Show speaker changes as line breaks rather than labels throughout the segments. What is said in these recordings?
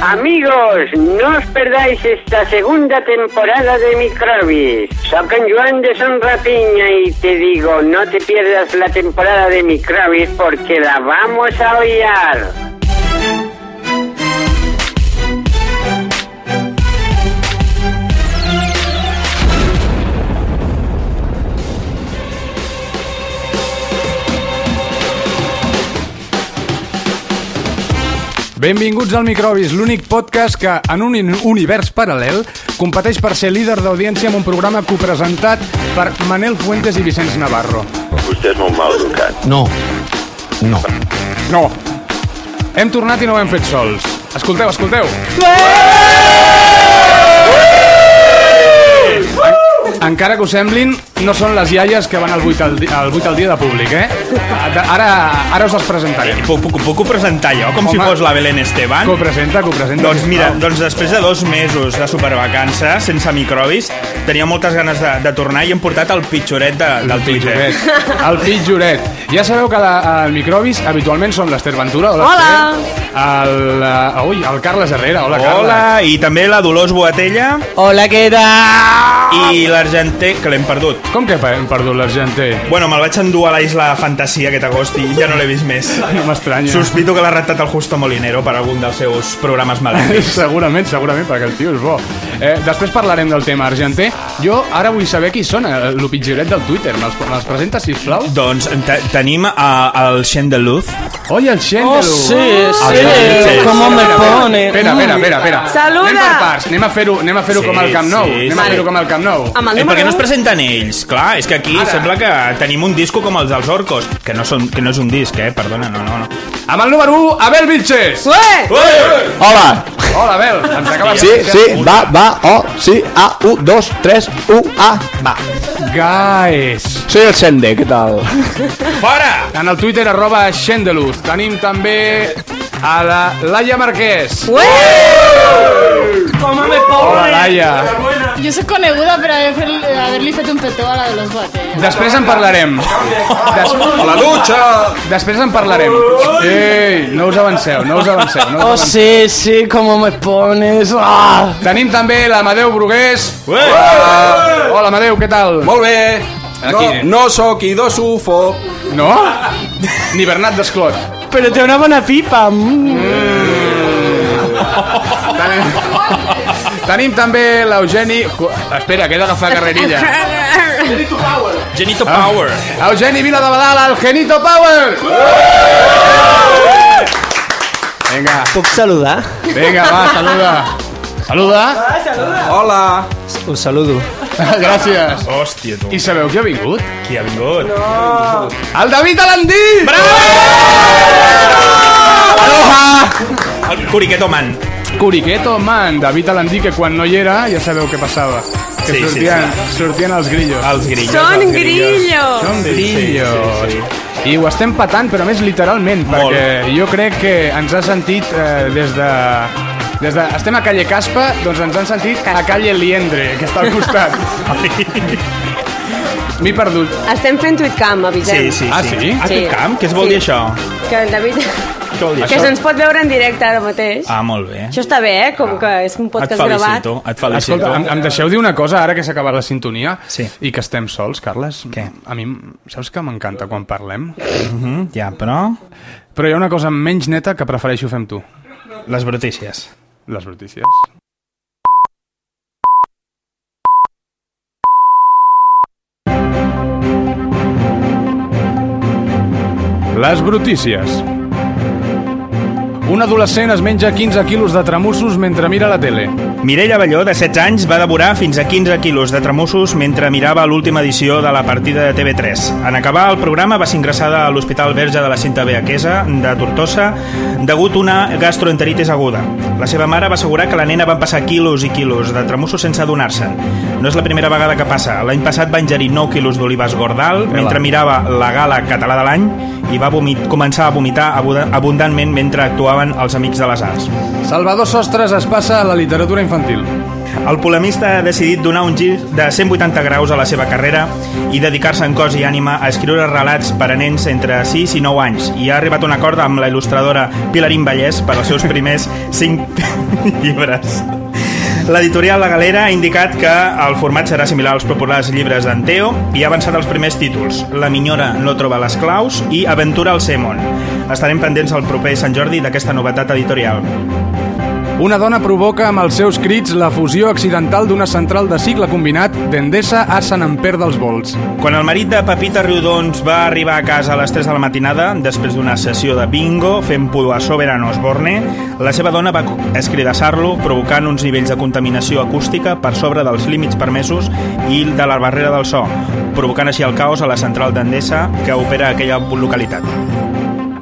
Amigos, no os perdáis esta segunda temporada de Microbis. Soy con Joan de Son Rapiña y te digo, no te pierdas la temporada de Microbis porque la vamos a oír.
Benvinguts al Microbis, l'únic podcast que, en un in- univers paral·lel, competeix per ser líder d'audiència amb un programa copresentat per Manel Fuentes i Vicenç Navarro.
Vostè és molt mal educat.
No. No.
No. Hem tornat i no ho hem fet sols. Escolteu, escolteu. En- Encara que ho semblin, no són les iaies que van al 8 al, di- al, 8 al dia de públic, eh? Ara, ara us els presentarem.
Puc, puc, puc ho presentar jo, com si
Home.
fos la Belén Esteban?
Que ho presenta, que ho presenta.
Doncs
sisplau.
mira, doncs després de dos mesos de supervacances, sense microbis, tenia moltes ganes de, de tornar i hem portat el pitjoret de, del Twitter.
Pitjoret. El pitjoret. Ja sabeu que la, el Microbis habitualment són l'Ester Ventura. Hola. Hola. El, eh, ui, el Carles Herrera. Hola, Carles.
Hola, i també la Dolors Boatella
Hola, què tal?
i l'argenter, que l'hem perdut.
Com que hem perdut eh? l'argenter?
Bueno, me'l vaig endur a la Isla Fantasia aquest agost i ja no l'he vist més.
No m'estranya.
Sospito que l'ha ratat el Justo Molinero per algun dels seus programes malèfics.
Segurament, segurament, perquè el tio és bo. Eh, després parlarem del tema argenter. Jo ara vull saber qui són, eh, el pitjoret del Twitter. Me'ls me presenta, sisplau?
Doncs te- tenim a, el Xen de Luz.
Oi, el Xendelo!
Oh, sí,
Ah,
sí,
sí.
cómo me pone.
Espera, espera, espera. espera.
Saluda.
Anem per parts, anem a fer-ho anem a fer-ho
Sí,
com al Camp Nou.
sí,
anem a
sí.
fer-ho com al Camp Nou.
Amb el
Eh, per
número
què no es
1,
presenten ells? Clar, és que aquí
Ara.
sembla que tenim un disco com els dels Orcos, que no, són, que no és un disc, eh? Perdona, no, no, no.
Amb el número 1, Abel Vilches!
Hola.
Hola, Abel! Ens acabes
Sí, sí, va, va, oh, sí, a, u, dos, tres, u, a, va.
Guys!
Soy el Sende, què tal?
Fora!
En el Twitter, arroba Xendeluz. Tenim també a la Laia Marquès. Hola, Laia.
Jo sóc coneguda per haver fer, haver-li fet un petó a la de los botellas.
Després en parlarem. Des... A la dutxa! Després en parlarem. Ei, no us avanceu, no us avanceu. No us
Oh,
avanceu.
sí, sí, cómo me pones. Ah.
Tenim també l'Amadeu Brugués. Hola, Amadeu, què tal?
Molt bé. Aquí. No, no sóc i dos UFO.
No? Ni Bernat Desclot.
Però té una bona pipa. Mm.
Tenim, tenim també l'Eugeni... Cu- Espera, que he d'agafar carrerilla.
Genito Power.
Eugeni Vila de Badal, el Genito Power! Vinga,
Puc saludar?
vinga, va, saluda. Saluda.
Hola.
Us saludo.
Gràcies.
Hòstia, tu.
I sabeu qui ha vingut?
Qui ha vingut? No.
El David Alandí!
El Curiqueto Man.
Curiqueto, man, David Alandí, que quan no hi era ja sabeu què passava. Que
Sí, sí,
sortien, sortien els grillos.
Els grillos.
Son
els grillos.
grillos.
Són
Sí, sí,
grillos.
sí,
I ho estem patant, però a més literalment,
Molt.
perquè jo crec que ens ha sentit eh, des de... Des de, estem a Calle Caspa, doncs ens han sentit a Calle Liendre, que està al costat. M'he perdut.
Estem fent tweetcam, avisem.
Sí, sí,
Ah,
sí.
sí?
Ah, sí. camp? Què es vol
Sí.
dir això?
Que el David...
Què vol dir
Que se'ns pot veure en directe ara mateix.
Ah, molt bé.
Això està bé, eh? Com que és un
Et
podcast gravat.
felicito, et felicito.
Escolta, em, em deixeu dir una cosa, ara que s'ha acabat la sintonia
Sí.
i que estem sols, Carles?
Què?
A mi, m- saps que m'encanta quan parlem?
Mm, Ja, però...
Però hi ha una cosa menys neta que prefereixo fer amb tu.
Les brutícies.
Les brutícies. Les brutícies. Un adolescent es menja 15 quilos de tramussos mentre mira la tele.
Mireia Balló, de 16 anys, va devorar fins a 15 quilos de tramussos mentre mirava l'última edició de la partida de TV3. En acabar el programa va ser ingressada a l'Hospital Verge de la Cinta Beaquesa de Tortosa degut a una gastroenteritis aguda. La seva mare va assegurar que la nena van passar quilos i quilos de tramussos sense adonar-se'n. No és la primera vegada que passa. L'any passat va ingerir 9 quilos d'olives Gordal mentre mirava la gala català de l'any i va vomit, començar a vomitar abuda- abundantment mentre actuaven els Amics de les Arts.
Salvador Sostres es passa a la literatura infantil.
el polemista ha decidit donar un gir de 180 graus a la seva carrera i dedicar-se en cos i ànima a escriure relats per a nens entre 6 i 9 anys i ha arribat a un acord amb la il·lustradora Pilarín Vallès per als seus primers 5 llibres. L'editorial La Galera ha indicat que el format serà similar als populars llibres d'Anteo i ha avançat els primers títols La minyora no troba les claus i Aventura al Semon. Estarem pendents al proper Sant Jordi d'aquesta novetat editorial.
Una dona provoca amb els seus crits la fusió accidental d'una central de cicle combinat d'Endesa a Sant Amper dels Vols.
Quan el marit de Pepita Riudons va arribar a casa a les 3 de la matinada, després d'una sessió de bingo fent pudor a Soberano Osborne, la seva dona va escridassar-lo, provocant uns nivells de contaminació acústica per sobre dels límits permesos i de la barrera del so, provocant així el caos a la central d'Endesa que opera aquella localitat.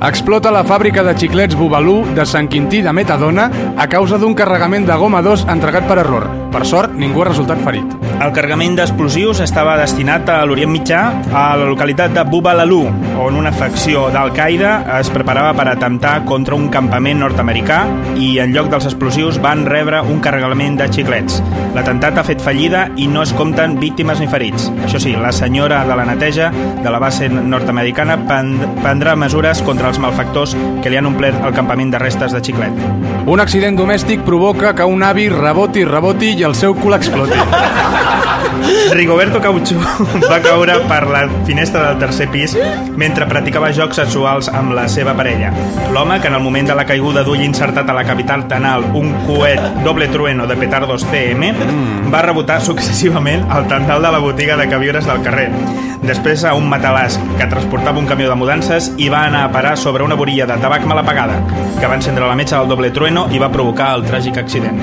Explota la fàbrica de xiclets Bubalú de Sant Quintí de Metadona a causa d'un carregament de goma 2 entregat per error. Per sort, ningú ha resultat ferit.
El carregament d'explosius estava destinat a l'Orient Mitjà, a la localitat de Bubalalú, on una facció d'Al-Qaeda es preparava per atemptar contra un campament nord-americà i en lloc dels explosius van rebre un carregament de xiclets. L'atemptat ha fet fallida i no es compten víctimes ni ferits. Això sí, la senyora de la neteja de la base nord-americana pend- prendrà mesures contra els malfactors que li han omplert el campament de restes de xiclet.
Un accident domèstic provoca que un avi reboti, reboti i el seu cul exploti.
Rigoberto Cautxú va caure per la finestra del tercer pis mentre practicava jocs sexuals amb la seva parella. L'home, que en el moment de la caiguda d'ull insertat a la capital tanal un coet doble trueno de petardos CM, va rebotar successivament al tendal de la botiga de queviures del carrer, després a un matalàs que transportava un camió de mudances i va anar a parar sobre una borilla de tabac mal apagada, que va encendre la metxa del doble trueno i va provocar el tràgic accident.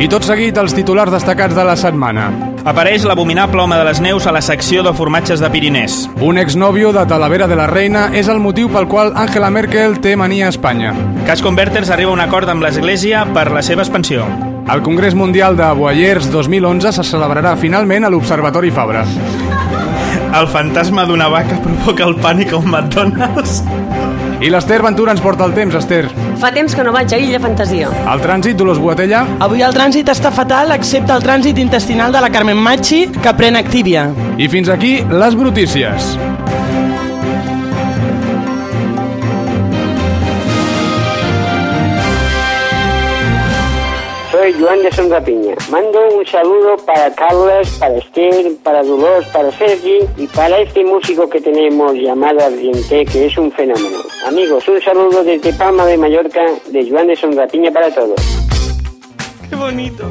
I tot seguit, els titulars destacats de la setmana.
Apareix l'abominable home de les neus a la secció de formatges de Pirinès.
Un exnovio de Talavera de la Reina és el motiu pel qual Angela Merkel té mania a Espanya.
Cash Converters arriba a un acord amb l'Església per la seva expansió.
El Congrés Mundial de Boyers 2011 se celebrarà finalment a l'Observatori Fabra.
El fantasma d'una vaca provoca el pànic a un McDonald's.
I l'Ester Ventura ens porta el temps, Ester.
Fa temps que no vaig a Illa Fantasia.
El trànsit, Dolors Boatella.
Avui el trànsit està fatal, excepte el trànsit intestinal de la Carmen Machi, que pren Activia.
I fins aquí les brutícies.
Soy Joan de Sonrapiña. Mando un saludo para Carlos, para Esther, para Dolores, para Sergi y para este músico que tenemos llamado Ardiente, que es un fenómeno. Amigos, un saludo desde Palma de Mallorca de Joan de Sonrapiña para todos.
Que bonito.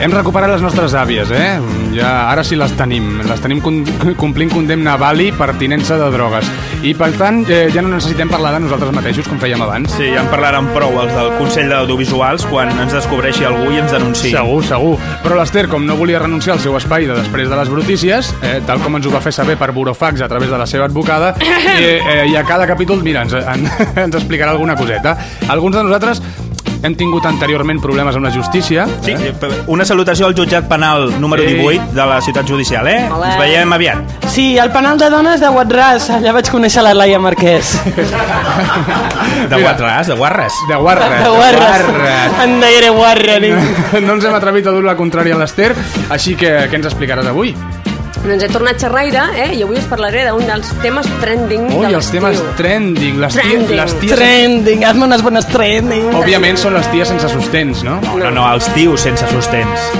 Hem recuperat les nostres àvies, eh? Ja, ara sí les tenim. Les tenim con- complint condemna a Bali per tinença de drogues. I, per tant, eh, ja no necessitem parlar de nosaltres mateixos, com fèiem abans.
Sí, ja en parlaran prou els del Consell d'Audiovisuals quan ens descobreixi algú i ens denunciï.
Segur, segur. Però l'Ester, com no volia renunciar al seu espai de després de les brutícies, eh, tal com ens ho va fer saber per burofax a través de la seva advocada, eh, eh, i a cada capítol, mira, ens, en, ens explicarà alguna coseta. Alguns de nosaltres hem tingut anteriorment problemes amb la justícia. eh?
Sí, una salutació al jutjat penal número
Ei.
18 de la ciutat judicial, eh?
Hola.
Ens veiem aviat.
Sí, al penal de dones de Guatràs, allà vaig conèixer la Laia Marquès.
De guarres, de guarres.
De guarra.
De Guarres. En deia era Guarra, ni.
No ens hem atrevit a dur la contrària a l'Ester, així que què ens explicaràs avui?
Doncs he tornat xerraire, eh? I avui us parlaré d'un dels temes trending
Ui,
de
els
l'estiu.
temes trending. Les, ties,
Trending.
les ties...
Trending, hazme unes bones trending.
Òbviament són les ties sense sostens, no?
No, no, els tios sense sostens.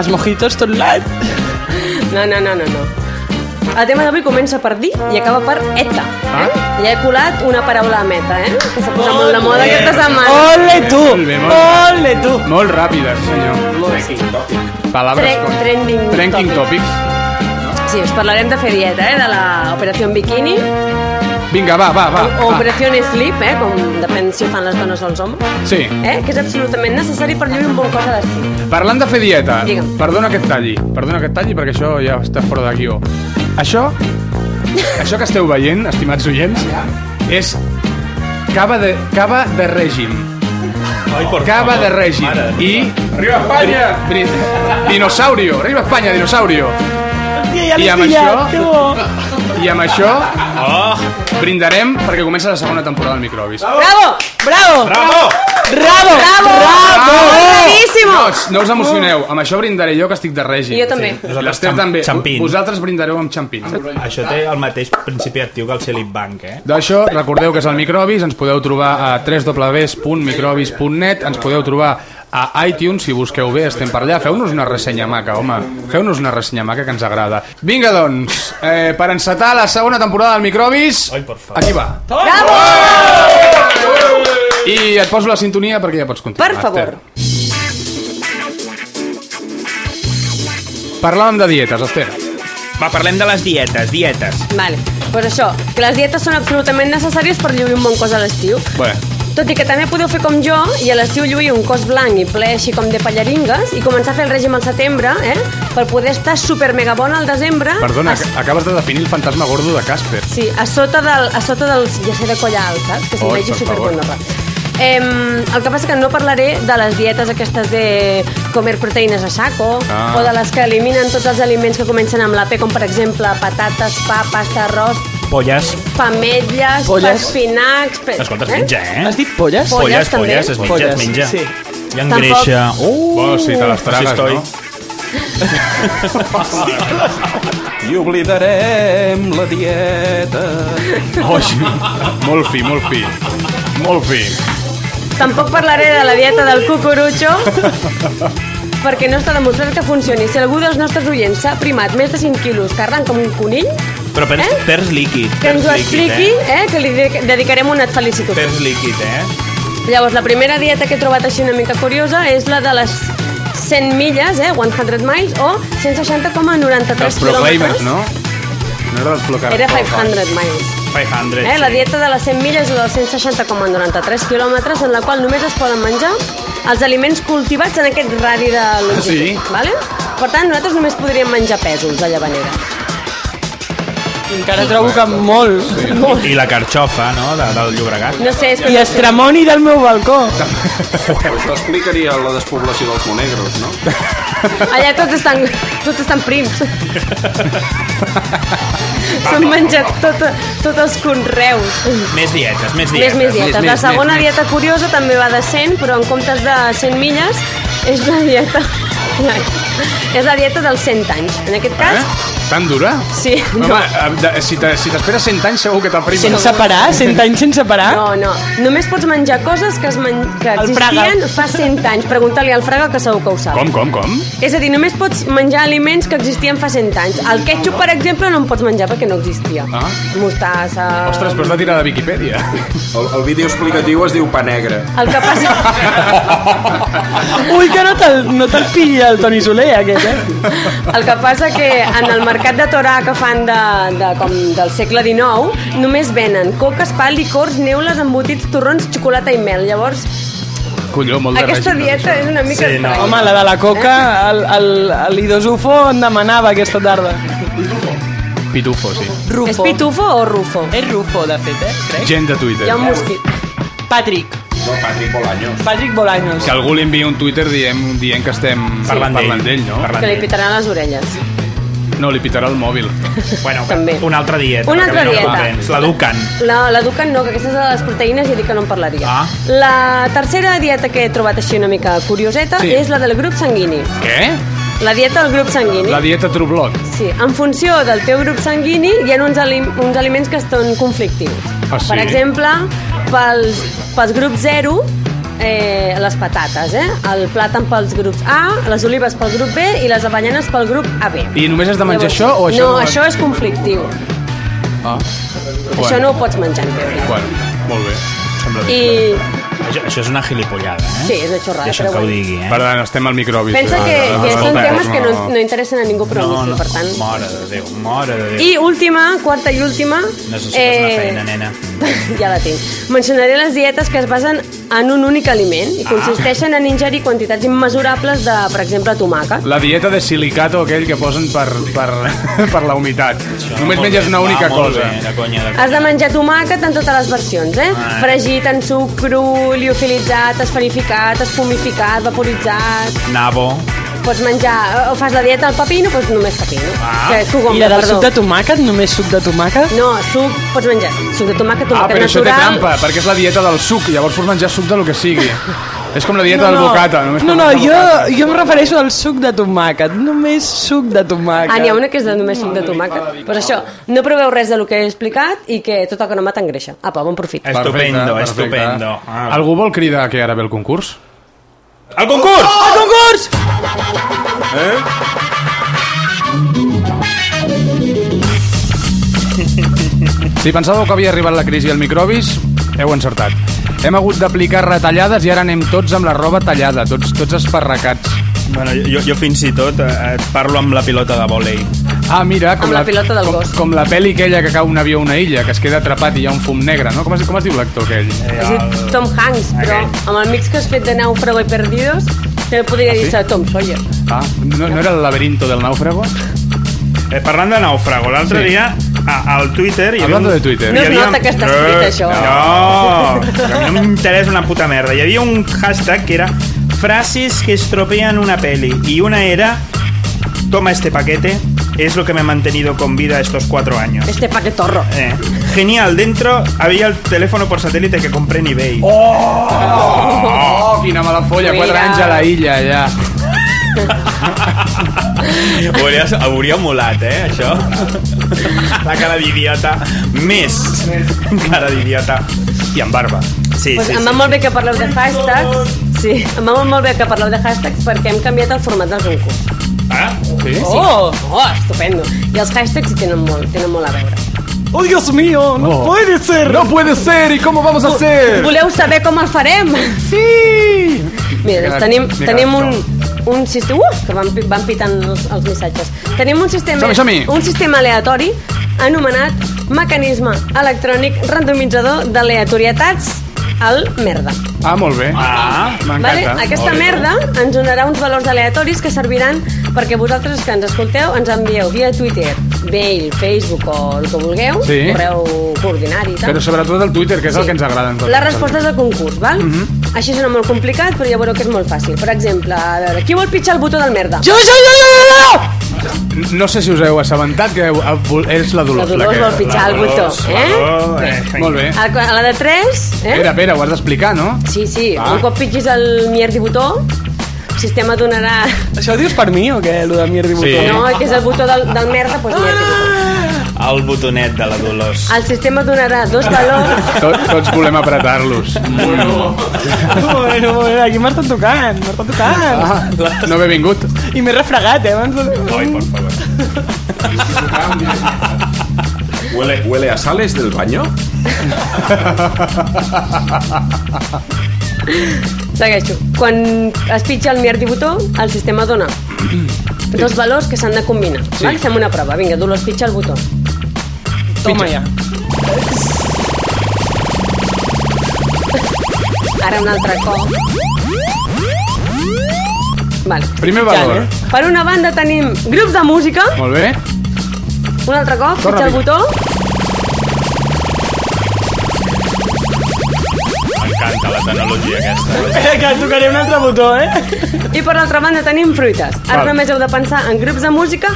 Els mojitos tot l'any.
No, no, no, no, no. El tema d'avui comença per dir i acaba per eta. Eh?
Ah,
Ja he colat una paraula a meta, eh? Que s'ha posat molt de moda aquesta setmana.
Ole tu,
Molt bé, molt bé.
ole tu.
Molt ràpides, senyor. Palabres
Tre-
com...
trending
Trending
topics.
topics.
Sí, us parlarem de fer dieta, eh? De la Operació Bikini
Vinga, va, va, va.
o
va.
Operació Sleep, eh? Com depèn si ho fan les dones o els homes.
Sí.
Eh? Que és absolutament necessari per lluir un bon cos a l'estiu.
Parlant de fer dieta,
Digue'm.
perdona que et talli, perdona que et talli perquè això ja està fora de guió. Això, això que esteu veient, estimats oients, és cava de, cava de règim.
Ai, por
Cava
favor.
de règim.
Mare de
I...
Arriba Espanya!
Bri- Dinosaurio. Arriba Espanya, dinosaurio.
Hòstia, ja
I
l'he
amb
pillat,
això-
que bo.
I amb això oh, brindarem perquè comença la segona temporada del Microbis.
Bravo!
Bravo!
Bravo!
Bravo!
Bravo! Bravíssimo!
No, us- no us emocioneu, amb això brindaré jo que estic de règim.
I jo també.
Sí. L'Ester
Nosaltres
també.
xampin.
Vosaltres brindareu amb xampins.
Això té el mateix principi actiu que el Celip Bank, eh?
D'això, recordeu que és el Microbis, ens podeu trobar a www.microbis.net, ens podeu trobar a iTunes, si busqueu bé, estem per allà. Feu-nos una ressenya maca, home. Feu-nos una ressenya maca que ens agrada. Vinga, doncs, eh, per encetar la segona temporada del Microbis,
Ai, per favor.
aquí va.
Bravo!
I et poso la sintonia perquè ja pots continuar.
Per favor.
Esther. Parlàvem de dietes, Esther.
Va, parlem de les dietes, dietes.
Vale. Pues això, que les dietes són absolutament necessàries per lluir un bon cos a l'estiu.
Bé,
Tot i que també podeu fer com jo i a l'estiu lluir un cos blanc i ple així com de pallaringues i començar a fer el règim al setembre, eh? Per poder estar super mega bona al desembre.
perdona,
a-
ac- acabes de definir el fantasma gordo de Casper.
Sí, a sota, del, a sota dels llacer de colla alt, saps? Que si
Oi,
oh, vegi
per favor.
superconorra. Eh, el que passa que no parlaré de les dietes aquestes de comer proteïnes a saco
Ah.
o de les que eliminen tots els aliments que comencen amb la P, com per exemple patates, pa, pasta, arròs,
Polles.
pametlles,
Polles.
espinacs... Pe...
Escolta, es menja, eh?
Has dit polles?
Polles,
Polles,
també? Oh!
polles, es menja, es
Polles,
menja.
sí.
I engreixa. Uh,
Bueno, sí, te les tragues,
estoy.
no?
I oblidarem la dieta.
Oh, sí. Molt fi, molt fi. Molt fi.
Tampoc parlaré de la dieta del cucurutxo perquè no està demostrat que funcioni. Si algú dels nostres oients s'ha primat més de 5 quilos cardan com un conill,
Però perds,
Eh?
perds líquid.
que ens ho
perds líquid,
expliqui,
Eh?
eh? que li de- dedicarem una et felicito.
Perds líquid, eh?
Llavors, la primera dieta que he trobat així una mica curiosa és la de les 100 milles, eh, 100 miles, o 160,93
Dels
quilòmetres.
Proclaimers, no? No era dels Proclaimers.
Era 500 miles.
500.
Eh? La
sí.
dieta de les 100 milles és dels 160,93 quilòmetres, en la qual només es poden menjar els aliments cultivats en aquest radi de longitud.
Ah, sí?
Vale? Per tant, nosaltres només podríem menjar pèsols a Llavanera.
Encara trobo que molt. molt.
I la carxofa, no?, de, del Llobregat.
No sé, és
I
que...
estremoni del meu balcó.
Pues t'explicaria la despoblació dels monegros, no?
Allà tots estan, tots estan prims. S'han menjat tot, tots els conreus.
Més dietes, més
Més,
dietes.
més dietes.
més,
la
més,
segona
més.
dieta curiosa també va de 100, però en comptes de 100 milles és la dieta... és la dieta dels 100 anys. En aquest cas,
Eh? Tan dura?
sí.
Home, eh, de- si te- si t'esperes 100 anys segur que t'aprimes.
Sense parar, 100 anys sense parar.
No, no. Només pots menjar coses que, es men... que
El
existien fa 100 anys. Pregunta-li al Fraga, que segur que ho sap.
Com, com, com?
És a dir, només pots menjar aliments que existien fa 100 anys. El ketchup, per exemple, no en pots menjar perquè no existia.
Ah.
Mostassa...
Ostres, però has de tirar de Viquipèdia.
El, el vídeo explicatiu es diu pa negre.
El que passa...
Ui, que no te'l no te pilla el Toni Soler, aquest, eh?
El que passa que en el mercat de Torà que fan de, de, com del segle XIX només venen coques, pa, licors, neules, embotits, torrons, xocolata i mel. Llavors,
Colló, molt de eh?
aquesta
règim,
dieta és una mica...
Sí, no.
estranya.
Home, la de la coca, el, el, el Idosufo en demanava aquesta tarda.
això. Pitufo, sí.
Rufo.
És pitufo o rufo?
És Rufo, de fet, eh? Crec.
Gent de Twitter.
Hi ha un mosquit.
Patrick.
No, Patrick Bolaños.
Patrick Bolaños.
Que algú li enviï un Twitter dient, dient que estem
Parlant d'ell.
d'ell, no?
Parlant
Que li
d'ell.
pitaran les orelles.
No, li pitarà el mòbil.
Bueno,
També.
una altra dieta.
Una
que
altra
no la
dieta.
convenç, La Ducan.
La, la Dukan no, que aquesta és de les proteïnes i dic que no en parlaria.
Ah.
La tercera dieta que he trobat així una mica curioseta
Sí.
sí. és la del grup sanguini.
Què?
La dieta del grup sanguini.
La dieta Trublot.
Sí, en funció del teu grup sanguini hi ha uns, alim uns aliments que estan conflictius.
Ah, sí?
Per exemple, pels, pels grups 0, eh, les patates, eh? el plàtan pels grups A, les olives pel grup B i les avellanes pel grup AB.
I només has de menjar això o això
No,
no-
això és conflictiu.
Ah.
Això no ho pots menjar, en teoria.
Bueno, molt bé. Sembla bé.
I
Això, això és una gilipollada, eh?
sí, és una xorrada.
Deixa'm
però
que ho
bueno.
digui, eh?
Perdó, no estem al Ah, microbi.
Pensa que, que són temes que no, no interessen a ningú, però
no,
no,
no,
per tant...
Mare de Déu, mare de Déu.
I eh, última, quarta i última...
Necessites una feina, nena.
ja la tinc. Mencionaré les dietes que es basen en un únic aliment
Ah.
i consisteixen en ingerir quantitats immesurables de, per exemple, tomàquet.
La dieta de silicato aquell que posen per, per, per la humitat.
Això,
Només
molt
menges
bé,
una
va,
única
molt
cosa.
Bé, de conya, de conya.
Has de menjar tomàquet en totes les versions, eh?
Ah.
Fregit en suc cru, liofilitzat, esferificat, espumificat, vaporitzat...
Nabo,
pots menjar, o fas la dieta al pepino, doncs només pepino.
Ah.
Que, cogombre,
I la del
perdó.
suc de tomàquet, només suc de tomàquet?
No, suc, pots menjar suc de tomàquet,
Ah,
tomàquet
però això té
natural.
trampa, perquè és la dieta del suc, llavors pots menjar suc del que sigui. És com la dieta del bocata. només
no,
pots
no
menjar
jo,
bocata.
jo em refereixo al suc de tomàquet, només suc de tomàquet.
Ah, n'hi ha una que és de només suc de
Ah,
tomàquet. Doncs pues això, no proveu res del que he explicat i que tot el que no mata engreixa. Apa, bon profit.
Estupendo, estupendo. Ah.
Algú vol cridar que ara ve el concurs?
El concurs!
Oh!
El concurs!
Si pensàveu que havia arribat la crisi al microbis, heu encertat. Hem hagut d'aplicar retallades i ara anem tots amb la roba tallada, tots, tots esparracats.
Bueno, jo, jo fins i tot eh, et parlo amb la pilota de vòlei.
Ah, mira, com
Amb la pilota del
com,
gos.
Com la pel·li aquella que cau un avió a una illa, que es queda atrapat i hi ha un fum negre, no? Com es, com es diu l'actor aquell?
Has dit Tom Hanks, però
Aquell.
amb el mix que has fet de Náufrago i Perdidos, també podria dir-se Tom Sawyer.
Ah, no, no era el laberinto del náufrago?
Eh, parlant de nàufrago, l'altre
Sí.
sí. dia a, al Twitter... Hi
Hablando de Twitter.
No
hi Eh,
es nota que està escrit, això.
No, no, a mi no m'interessa una puta merda. Hi havia un hashtag que era frases que estropeen una peli i una era toma este paquete, es lo que me ha mantenido con vida estos cuatro años.
Este paquetorro.
Eh, genial, dentro había el teléfono por satélite que compré en eBay.
Oh, quina mala folla, 4
Mira.
anys a la illa, ja.
Hauria, hauria molat, eh, això? La cara d'idiota. Més. Cara d'idiota. I amb barba. Sí,
Pues
sí,
em
sí.
va molt bé que parleu de hashtags. Sí, em va molt bé que parleu de hashtags perquè hem canviat el format del concurs.
Ah,
Oh!
Oh, estupendo. I els hashtags hi tenen molt, tenen molt a veure.
¡Oh, Dios mío! ¡No
Oh.
puede ser!
No puede ser, ¿y cómo vamos a hacer?
Voleu saber com el farem?
Sí!
Mira,
M'he
doncs
quedat-
tenim,
m'he
tenim un,
quedat
un sistema... Uh, que van, pi- van pitant els, els missatges. Tenim un sistema,
Som-hi, som-hi.
un sistema aleatori anomenat mecanisme electrònic randomitzador d'aleatorietats al merda.
Ah, molt bé.
Ah.
Vale?
M'encanta.
Aquesta merda ens donarà uns valors aleatoris que serviran perquè vosaltres que ens escolteu ens envieu via Twitter, mail, Facebook o el que vulgueu,
Sí.
correu coordinari i tal.
Però sobretot el Twitter, que és el que ens agrada. en tot
Les
cas. Mhm.
respostes del concurs, val? Així sona molt complicat, però ja veureu que és molt fàcil. Per exemple, a veure, qui vol pitjar el botó del merda?
¡Yo, yo, yo, yo, yo, yo!
No sé si us heu assabentat que heu- heu- és la
La
Dolors.
Dolors vol pitjar el botó, eh?
Oh, eh,
que... Molt bé.
A la- a la de 3, eh?
Espera, espera, ho has d'explicar, no?
Sí, sí,
Ah.
un cop pitgis el mierdi botó, el sistema donarà...
¿Això ho dius per mi o què, lo de mierda i botó?
Sí.
No, que és el botó del, del merda, doncs mierdi botó.
El botonet de la Dolors.
Ah!
El sistema donarà dos valors
Tot, tots volem apretar-los.
Bueno, bueno, aquí m'està tocant, m'està tocant.
Ah, no m'he vingut.
I m'he refregat, eh, abans de...
Ai, por favor.
Huele, huele a sales del baño.
Segueixo. Quan es pitja el mierdi botó, el sistema dona dos valors que s'han de combinar.
Sí.
Val? Fem una prova. Vinga, Dolors, pitja el botó.
Toma ja.
Ara un altre cop. Vale.
Primer valor.
Per una banda tenim grups de música.
Molt bé.
Un altre cop,
Torna
pitja el
a
botó.
M'encanta la tecnologia aquesta.
Eh, que tocaré un altre botó, eh?
I per l'altra banda tenim fruites. Ara
Val.
només heu de pensar en grups de música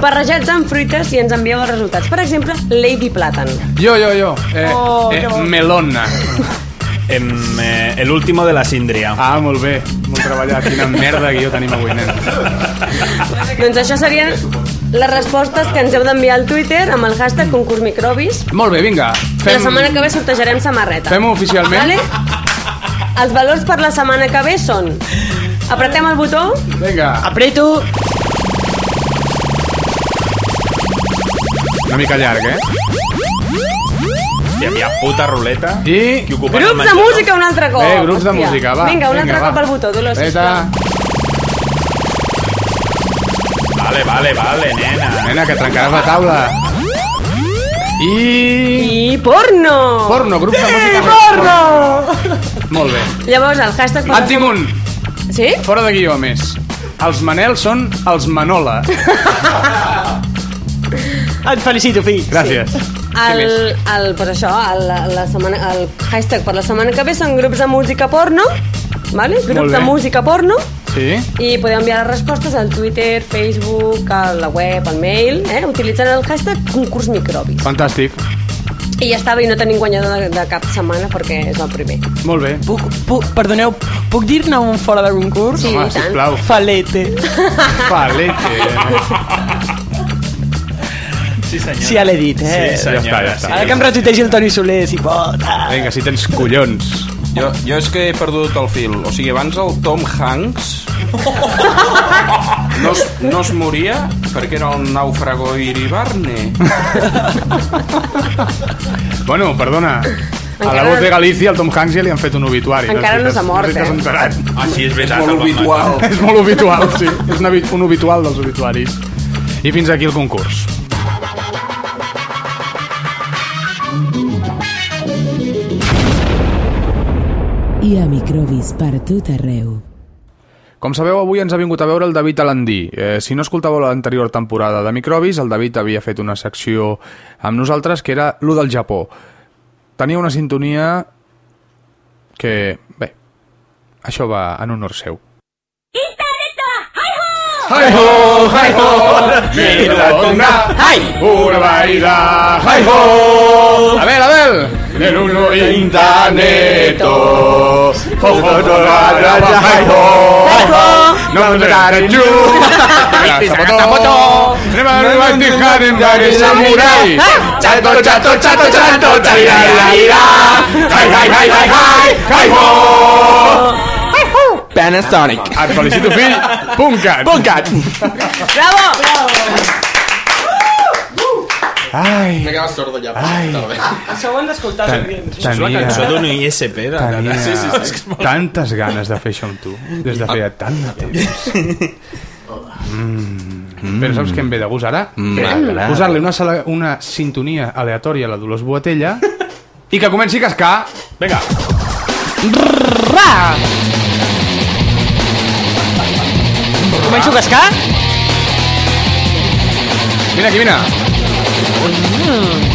barrejats amb fruites i ens envieu els resultats. Per exemple, Lady Platan.
Jo, jo, jo. Eh,
Oh,
eh,
que bo.
melona.
Em, eh, el último de la síndria.
Ah, molt bé. Molt treballat. Quina merda que jo tenim avui, nen.
doncs això serien les respostes que ens heu d'enviar al Twitter amb el hashtag concurs microbis.
Molt bé, vinga.
Fem... La setmana que ve sortejarem samarreta.
Fem-ho oficialment?
Vale? Els valors per la setmana que ve són... Apretem el botó,
Vinga.
Apreto.
Una mica llarg, eh?
Hi havia puta ruleta.
I...
Qui ocupa
grups de música un altre cop.
Eh, grups de
Hòstia.
música, va.
Vinga, un altre cop al botó, Dolors, sisplau.
Veta.
Vale, vale, vale, nena.
Nena, que trencaràs la taula. I...
I porno!
Porno, grup de música.
Porno!
Molt bé.
Llavors, el hashtag...
En tinc un.
Sí?
Fora de guió, a més. Els Manel són els Manola.
Et felicito, fill.
Gràcies.
El,
Què més?
el, pues això, el, la setmana, el hashtag per la setmana que ve són grups de música porno, vale?
Molt
grups
bé.
de música porno,
Sí.
i podeu enviar les respostes al Twitter, Facebook, a la web, al mail, eh? utilitzant el hashtag concurs microbis.
Fantàstic.
I ja estava i no tenim guanyador de, de cap setmana perquè és el primer.
Molt bé.
Puc, puc, perdoneu, puc dir-ne un fora de concurs?
Sí,
Home,
i tant.
sisplau.
Falete.
Palete.
Sí, senyor.
Sí, ja l'he dit, eh?
Sí,
Ja està, ja està.
Ara que em retuitegi el Toni Soler, si pot. Ah.
Vinga, si tens collons.
Jo, jo és que he perdut el fil. O sigui, abans el Tom Hanks no es, no es moria perquè era el nàufrago Iribarne.
Bueno, perdona. A la
Encara-
voz de Galícia, el Tom Hanks ja li han fet un obituari.
Encara no
t'has-
s'ha mort,
t'has
eh?
enterat.
Ah, sí, és veritat.
Molt
el van matar.
habitual.
És molt obitual, sí. És un, habit- un obitual dels obituaris. I fins aquí el concurs.
I a microbis per tot arreu.
Com sabeu, avui ens ha vingut a veure el David Alandí. Eh, si no escoltàveu l'anterior temporada de Microbis, el David havia fet una secció amb nosaltres que era lo del Japó. Tenia una sintonia que, bé, això va en honor seu. Hi-ho, hi-ho, mira com na,
Ai!
una baila, hi-ho. Abel, Abel! Nell'uno interneto, fotografa, hi-ho. No andare giù Sabato Sabato Ne vanno a toccare in vari samurai Ciato ciato ciato ciato Tira la ira Hai hai hai hai hai Hai ho
Panasonic.
Et felicito fill Puncat
Puncat.
Bravo! Bravo!
Ai
M'he quedat sord allà.
eh.
Ah,
Ai.
Això ho han d'escoltar, els oients.
És la
Tenia
cançó d'un ISP. De, de, de, sí, sí, sí.
Tenia tantes ganes de fer això amb tu Des de feia tant de temps Mm. Però saps què em ve de gust ara?
M'agrada.
Posar-li una, sala- una sintonia aleatòria a la Dolors Boatella i que comenci a cascar
Vinga.
Ra! Començo a cascar?
Vine aquí, vine.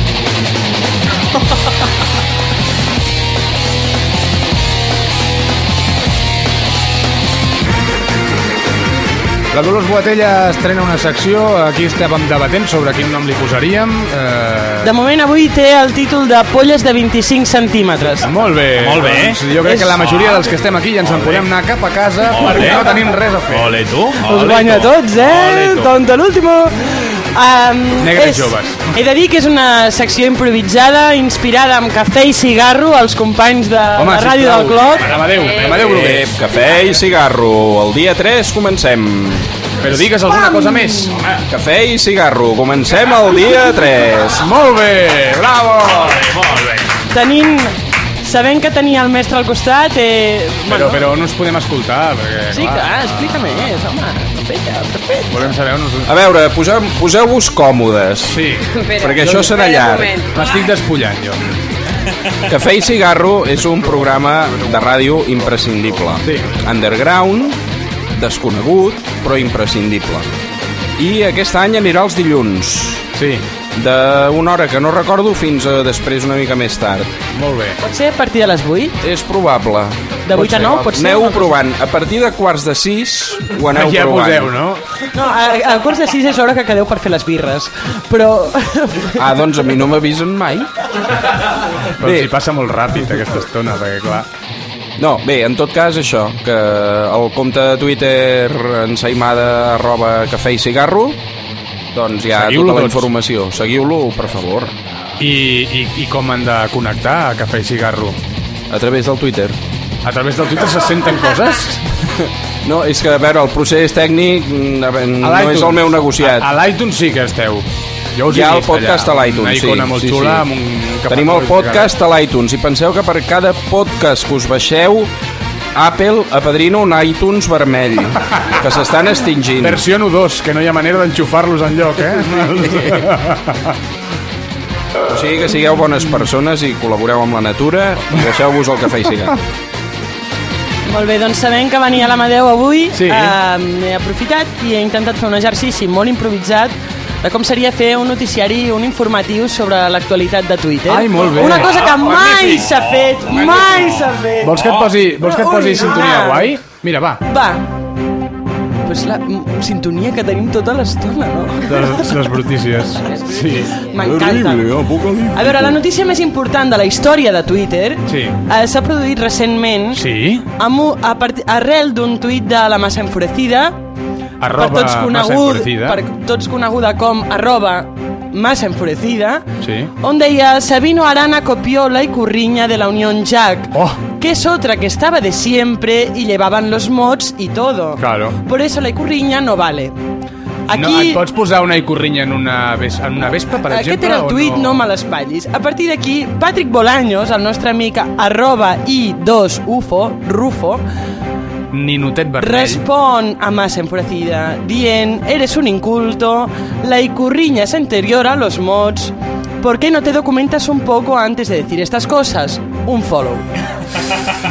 La Dolors Boatella estrena una secció, aquí estàvem debatent sobre quin nom li posaríem. Eh...
De moment avui té el títol de polles de 25 centímetres.
Molt bé.
Molt bé.
Doncs jo crec
És-
que la majoria dels que estem aquí ja ens en podem anar cap a casa perquè no tenim res a fer.
Ole, tu.
Us
ole,
guanyo a
tu.
tots, eh?
Ole, tu.
Tonto l'último. Um,
Negres joves.
He de dir que és una secció improvisada, inspirada amb cafè i cigarro als companys de Home, la ràdio del Clot.
Amadeu,
Eh,
Amadeu Brugués.
Ep, Eh, cafè i cigarro. El dia 3 comencem.
Però digues alguna cosa més.
Ah.
Cafè i cigarro. Comencem el dia 3.
Molt bé, bravo!
Tenint... Sabent que tenia el mestre al costat... Eh,
Però, però no us podem escoltar, perquè...
Sí, clar, explica més, eh, home. Perfecte, perfecte.
Volem saber on us...
A veure, poseu- poseu-vos còmodes.
Sí,
Espera,
Perquè això
espera
serà
un
llarg.
moment.
m'estic despullant, jo.
Cafè i Cigarro és un programa de ràdio imprescindible.
Sí.
Underground, desconegut, però imprescindible. I aquest any anirà els dilluns,
Sí,
d'una hora que no recordo fins a després una mica més tard.
molt bé.
Pot ser a partir de les 8?
És probable.
De 8 a 9? Pot ser?
Aneu provant. A partir de quarts de sis ho aneu
ja
provant.
poseu, no?
No, a, a quarts de 6 és hora que quedeu per fer les birres. Però...
Ah, doncs a mi no m'avisen mai.
Però
Bé.
s'hi passa molt ràpid, aquesta estona, perquè, clar...
No, bé, en tot cas això, que el compte de Twitter ensaïmada arroba cafè i cigarro, doncs hi ha
Seguiu-lo
tota la
tots.
informació. Seguiu-lo, per favor,
I, i, I com han de connectar a Cafè i Cigarro?
a través del Twitter.
A través del Twitter se senten coses?
No, és que, a veure, el procés tècnic mm, a veure,
A
no és el meu negociat.
A, a l'iTunes sí que esteu. Jo us
Hi ha
he
el
vist
podcast
allà,
a l'iTunes,
Una
sí,
icona molt
sí,
xula
sí.
amb un...
Tenim el podcast a l'iTunes i penseu que per cada podcast que us baixeu Apple apadrina un iTunes vermell que s'estan extingint.
Versiono 2, que no hi ha manera d'enxufar-los enlloc, eh?
O sigui que sigueu bones persones i col·laboreu amb la natura i deixeu-vos el cafè i cigarro.
Molt bé, doncs sabent que venia l'Amadeu avui,
Sí.
eh, he aprofitat i he intentat fer un exercici molt improvisat de com seria fer un noticiari, un informatiu sobre l'actualitat de Twitter.
Ai, molt bé.
Una cosa que
Ah,
mai
magnífic.
s'ha fet, mai s'ha fet.
Vols que et posi, vols que et posi
Ui,
sintonia
ara.
guai? Mira, va.
Va, però és la mm, sintonia que tenim tota l'estona, no?
De les, les brutícies. Sí. eh,
M'encanta. A veure, la notícia més important de la història de Twitter
Sí.
eh, s'ha produït recentment
Sí?
amb, un- a part, arrel d'un tuit de la massa enfurecida
Arroba
per tots
massa
conegut,
enfurecida.
per tots coneguda com arroba massa enfurecida
Sí.
on deia Sabino Arana Copiola y Curriña de la Unión Jack
Oh,
Oh.
que es otra que estaba de siempre y llevaban los mods y todo
Claro.
por eso la Curriña no vale
Aquí... No, et pots posar una icorrinya en una, ves en una vespa, per
Aquest
exemple?
era el
o
tuit, no,
no
me l'espatllis. A partir d'aquí, Patrick Bolaños, el nostre amic arroba i2ufo, Rufo,
Ninotet vermell.
Respon a massa enfurecida, dient, eres un inculto, la icurriña es anterior a los mods, ¿por qué no te documentas un poco antes de decir estas cosas? Un follow.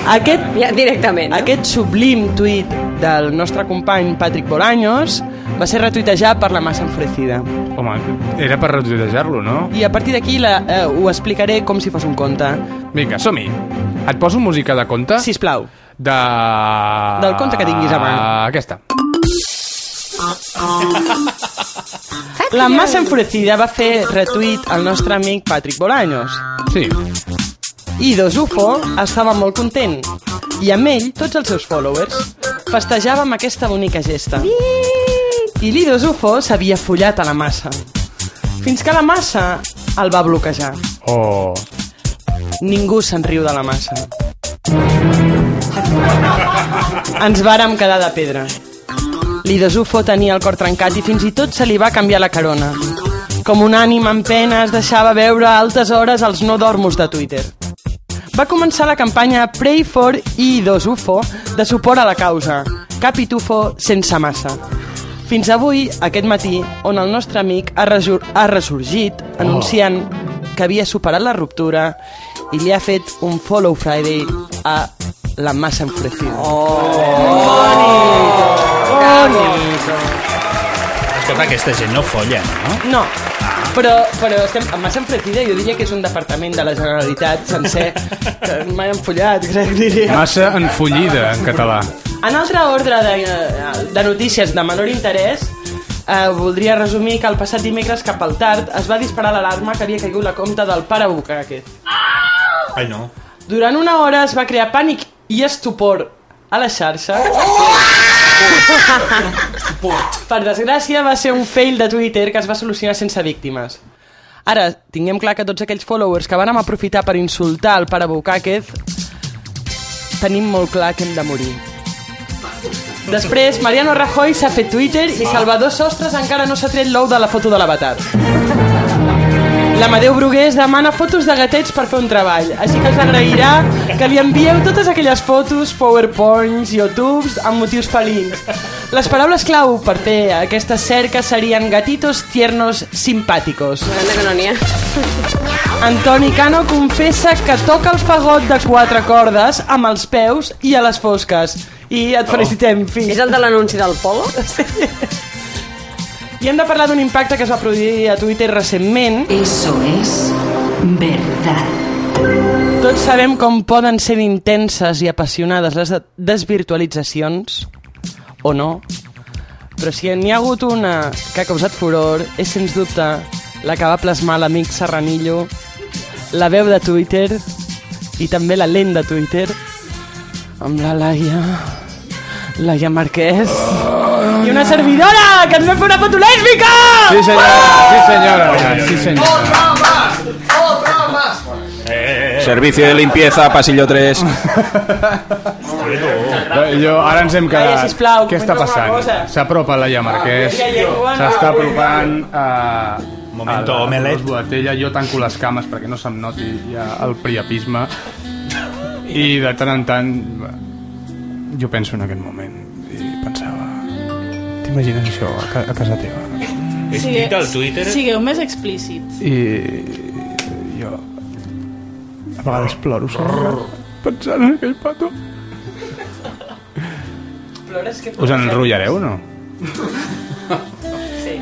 Aquest,
ja, directament.
No? Aquest sublim tuit del nostre company Patrick Bolaños va ser retuitejat per la massa enfurecida.
Home, era per retuitejar-lo, no?
I a partir d'aquí la- eh, ho explicaré com si fos un conte.
Vinga, som-hi. Et poso música de conte?
Sisplau.
De...
Del conte que tinguis a mà.
Aquesta.
La massa enfurecida va fer retuit al nostre amic Patrick Bolaños.
Sí.
I Dosufo estava molt content. I amb ell, tots els seus followers, festejava amb aquesta bonica gesta. I l'Idosufo s'havia follat a la massa. Fins que la massa el va bloquejar.
Oh.
Ningú se'n riu de la massa. Ens vàrem quedar de pedra. L'Idesufo tenia el cor trencat i fins i tot se li va canviar la carona. Com un ànima en pena es deixava veure a altes hores els no dormos de Twitter. Va començar la campanya Pray for I2UFO de suport a la causa. Cap i tufo sense massa. Fins avui, aquest matí, on el nostre amic ha, resur ha ressorgit
Oh.
anunciant que havia superat la ruptura i li ha fet un follow Friday a la massa enfurecida.
Oh. Escolta, aquesta gent no folla, no? Ah.
No, però, però estem en massa enfurecida, jo diria que és un departament de la Generalitat sencer, que mai han follat, crec, diria.
Massa enfollida, en català.
En altre ordre de, de notícies de menor interès, eh, voldria resumir que el passat dimecres cap al tard es va disparar l'alarma que havia caigut la compta del pare Bucaque.
Ai, no.
Durant una hora es va crear pànic i estupor a la xarxa. per desgràcia, va ser un fail de Twitter que es va solucionar sense víctimes. Ara, tinguem clar que tots aquells followers que van aprofitar per insultar el pare Bukàquez tenim molt clar que hem de morir. Després, Mariano Rajoy s'ha fet Twitter i Salvador Sostres encara no s'ha tret l'ou de la foto de l'avatar. L'Amadeu Brugués demana fotos de gatets per fer un treball, així que us agrairà que li envieu totes aquelles fotos, powerpoints, youtubes, amb motius felins. Les paraules clau per fer aquesta cerca serien gatitos tiernos simpàticos.
Grande que no n'hi ha.
Antoni Cano confessa que toca el fagot de quatre cordes amb els peus i a les fosques. I et felicitem, fill.
Oh. És el de l'anunci del Polo?
I hem de parlar d'un impacte que es va produir a Twitter recentment. Eso es verdad. Tots sabem com poden ser d'intenses i apassionades les de- desvirtualitzacions, o no, però si n'hi ha hagut una que ha causat furor, és sens dubte la que va plasmar l'amic Serranillo, la veu de Twitter i també la lent de Twitter amb la Laia, Laia Marquès i una servidora que ens va fer una foto lèsbica!
Sí, senyora. Sí, senyora. Sí, senyora. Eh.
Servicio de limpieza, pasillo 3.
Jo, ara ens hem quedat.
Laia, sisplau,
Què està
comenta alguna
passant?
cosa.
S'apropa Laia Marquès.
Ah, aquella llengua no.
S'està apropant a...
Momento
a la- a
omelet.
la Boatella. Jo tanco les cames perquè no se'm noti ja el priapisme. I de tant en tant... Jo penso en aquest moment. I pensava... T'imagines això a, ca a casa teva?
Escrita al Twitter.
Sigueu més explícits.
I... Jo... A vegades ploro, senyora, pensant en aquell petó. Us enrotllareu o no?
Sí.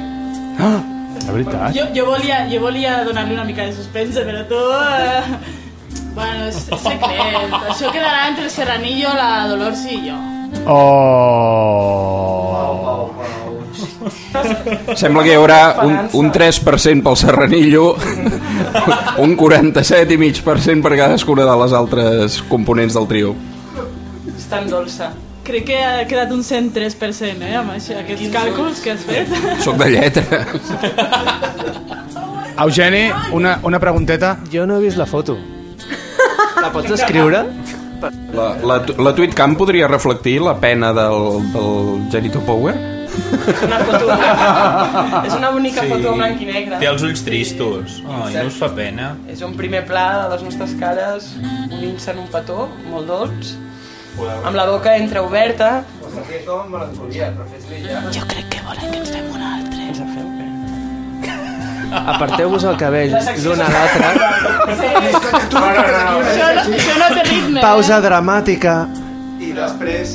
Ah, de veritat?
Jo, jo volia, jo volia donar-li una mica de suspense, però tu... Eh... Bueno, és, és secret. Això quedarà entre el Serranillo, la Dolors i jo.
Oh.
Sembla que hi haurà un, un 3% pel Serranillo, un 47,5% per cadascuna de les altres components del trio.
És tan dolça. Crec que ha quedat un 103%, eh, amb això, aquests càlculs que has fet.
Soc de lletra.
Eugeni, una, una pregunteta.
Jo no he vist la foto. La pots escriure?
La, la, la Tweetcam podria reflectir la pena del, del Genito Power?
És una bonica
Sí.
foto blanc i negre.
Té els ulls tristos. Ai, no us fa pena.
És un primer pla de les nostres cares unint-se en un petó, molt dolç, amb la boca entreoberta. Jo crec que volen que ens fem una altra. Ens en fem, eh?
Aparteu-vos el cabell l'un a l'altre.
Això, no- això no té ritme.
Pausa dramàtica.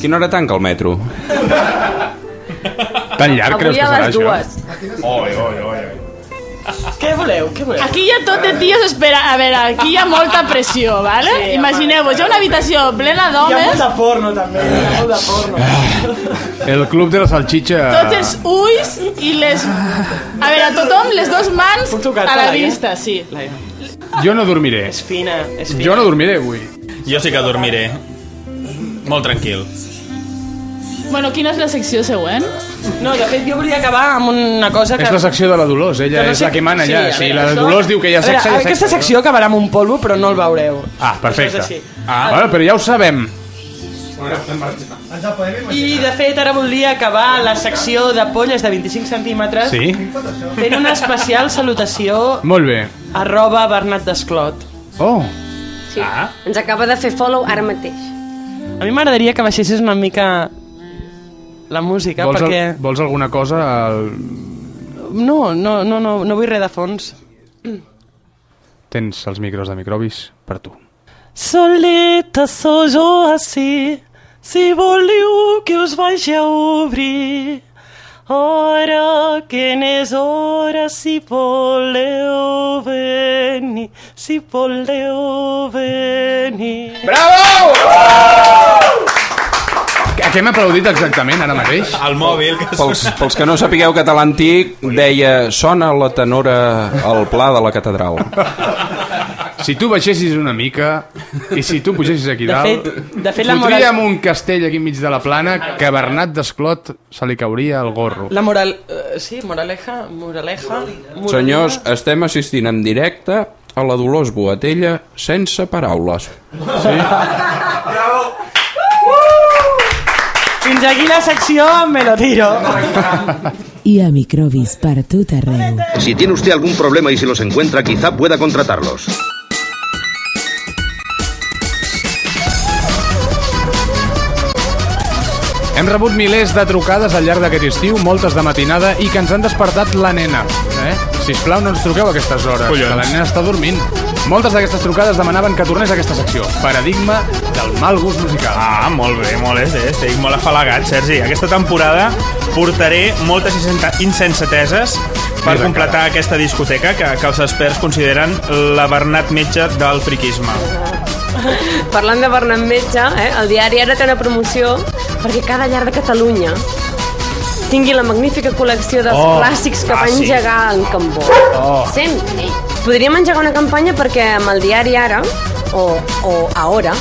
Quina hora tanca el metro?
Tan
llarg Avui creus que a serà les això? dues.
Oi, oi, oi.
Què voleu? Què voleu?
Aquí hi ha tot de tios espera... A veure, aquí hi ha molta pressió, vale?
Sí,
Imagineu-vos, hi ha una habitació plena d'homes,
porno, també. Hi ha molt de porno.
Ah. El club de la salxitxa...
tots els ulls i les... A veure, tothom, les dues mans a la
Laia?
vista, sí.
Jo no dormiré. És
fina, és
Jo no dormiré avui.
Jo sí que dormiré. Molt tranquil.
Bueno, quina és la secció següent?
No, de fet, jo volia acabar amb una cosa que...
És la secció de la Dolors, ella
que no
és
sé
la que mana
sí,
allà.
a
Sí,
veure,
la
això-
Dolors diu que hi ha
A veure,
sexe, hi ha
Aquesta
sexe.
secció acabarà amb un polvo, però no el veureu.
Ah, perfecte.
Això és així.
Ah, bueno, però ja ho sabem.
I, de fet, ara volia acabar la secció de polles de 25 centímetres
Sí?
fent una especial salutació
Molt bé.
arroba Bernat Desclot.
Oh!
Sí. Ah. Ens acaba de fer follow ara mateix.
A mi m'agradaria que baixessis una mica la música,
Vols,
perquè...
al, vols alguna cosa? Al...
No, no, no, no, no vull res de fons.
Tens els micros de microbis per tu.
Soleta sou jo així, si voleu que us vagi a obrir. Ora que nes hora si voleu venir, si voleu venir.
A què m'ha aplaudit exactament ara mateix?
El mòbil. Que
Pels, pels que no sapigueu català antic, deia sona la tenora al pla de la catedral.
Si tu baixessis una mica i si tu pugessis aquí
De
dalt...
fet- de fet, la moral-
Fotríem un castell aquí enmig de la plana que a Bernat Desclot se li cauria el gorro.
La moral... eh, sí, moraleja, moraleja... moraleja.
Senyors, estem assistint en directe a la Dolors Boatella sense paraules.
Fins aquí la secció, me lo tiro.
I a microbis per tot arreu.
Si tiene usted algún problema y se los encuentra, quizá pueda contratarlos.
Hem rebut milers de trucades al llarg d'aquest estiu, moltes de matinada, i que ens han despertat la nena. Eh? Sisplau, no ens truqueu a aquestes hores,
Collons.
que la nena està dormint. Moltes d'aquestes trucades demanaven que tornés a aquesta secció. Paradigma del mal gust musical.
Ah, molt bé, molt bé. Estic molt afalagat, Sergi. Aquesta temporada portaré moltes insenta- insensateses per
Mira,
completar aquesta discoteca que, que els experts consideren la Bernat Metge del friquisme.
Parlant de Bernat Metge, eh, el diari ara té una promoció perquè cada llar de Catalunya tingui la magnífica col·lecció dels
Oh,
clàssics que va
clàssics.
engegar en Cambó.
Oh.
Sent. Podríem engegar una campanya perquè amb el diari ara, o, o ara,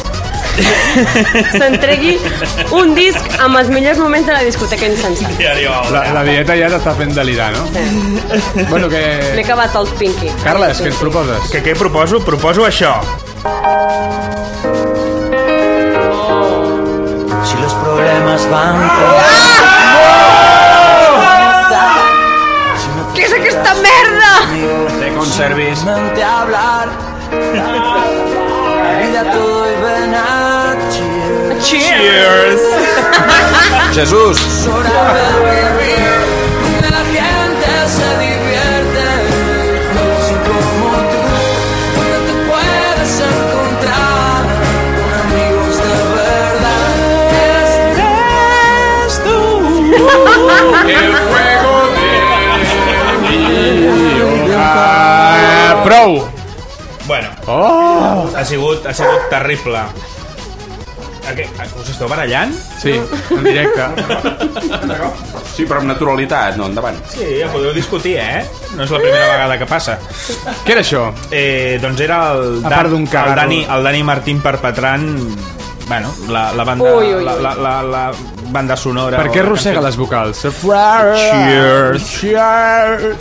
s'entregui un disc amb els millors moments de la discoteca insensata.
La, la dieta ja t'està fent delirar, no? Bueno,
M'he
que...
acabat el Pinky.
Carles, què ens proposes?
Que què proposo? Proposo això.
Si los problemas van...
Què és aquesta merda?
Té conservis.
Mente a hablar. La vida te doy ven a cheers.
Cheers.
Jesús!
Es hora de vivir. Que la gente se divierte. Si como tú no te puedes encontrar con amigos de verdad. Este es
El juego Ah, prou!
Bueno.
Oh!
Ha sigut, ha sigut terrible. Aqu- Us esteu barallant?
Sí, en directe.
Sí, però amb naturalitat, no, endavant.
Sí, ja podeu discutir, eh? No és la primera vegada que passa.
Què era això?
Eh, doncs era el,
A part d'un
el,
cagarro.
Dani, el Dani Martín perpetrant bueno, la, la banda...
Ui, ui, ui.
La, la, la, la banda sonora...
Per què
o la
arrossega
cançó.
les vocals?
Cheers.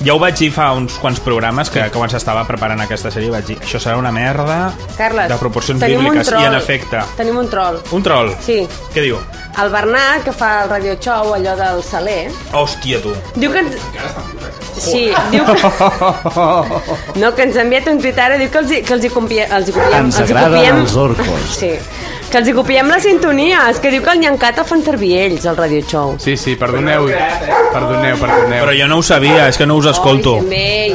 Ja ho vaig dir fa uns quants programes que, que quan s'estava preparant aquesta sèrie vaig dir això serà una merda
Carles,
de proporcions
tenim un
bíbliques i
troll.
en efecte.
Tenim un troll.
Un troll?
Sí.
Què diu?
El Bernat, que fa el radio show, allò del Saler,
Hòstia, tu.
diu que ens... Sí, diu que... No, que ens ha enviat un tuit ara, diu que els, hi- que els hi, compie, els hi copiem.
Ens
els hi
agraden
copiem-
els orcos.
Sí. Que els hi copiem la sintonia. És que diu que el Nyancat el fan servir ells, el radio show.
Sí, sí, perdoneu, perdoneu, perdoneu.
Però jo no ho sabia, és que no us escolto.
També.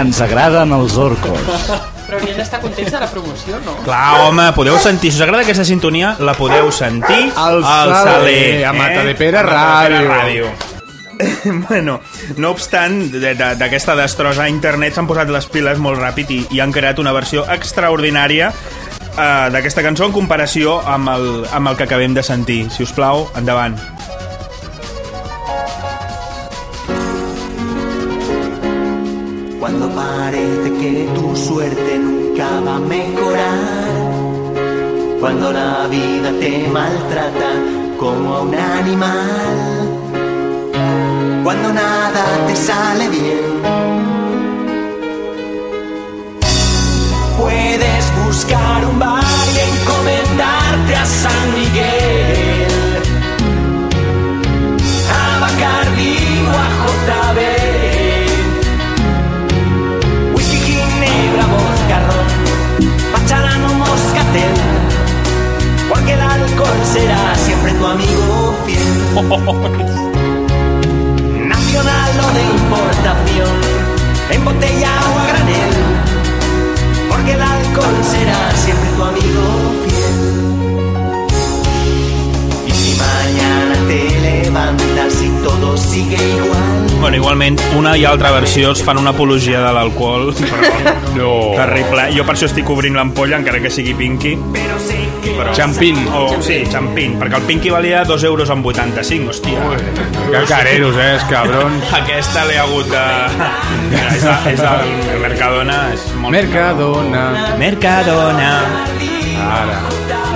Ens agraden els orcos.
Però ell està content de la promoció, no?
Clar, home, podeu sentir, si us agrada aquesta sintonia, la podeu sentir eh?
Al Saler, a Matadepera
A Matadepera
Ràdio.
bueno, no obstant, de- de- d'aquesta destrossa a internet s'han posat les piles molt ràpid i, i han creat una versió extraordinària eh, d'aquesta cançó en comparació amb el, amb el que acabem de sentir. Si us plau, endavant.
Cuando parece que tu suerte nunca va a mejorar. Cuando la vida te maltrata como a un animal. Cuando nada te sale bien. Puedes buscar un bar y encomendarte a San Miguel. A Bacardi o a JB. Whisky, ginebra, vodka, ron Pacharán o moscatel Porque el alcohol será siempre tu amigo fiel Nacional o de importación En botella o a granel Porque el alcohol será siempre tu amigo fiel Y si mañana te levantas y todo sigue igual
Bueno, igualment, una i altra versió es fan una apologia de l'alcohol. però
No.
Terrible. Jo per això estic obrint l'ampolla, encara que sigui Pinky.
Pero sé que
Però...
Champín.
O, sí, champín, perquè el Pinky valia 2 euros amb 85, hòstia.
Que careros, eh, els cabrons.
Aquesta l'he hagut de... és, de, és de Mercadona. És molt...
Mercadona.
Mercadona.
Ara.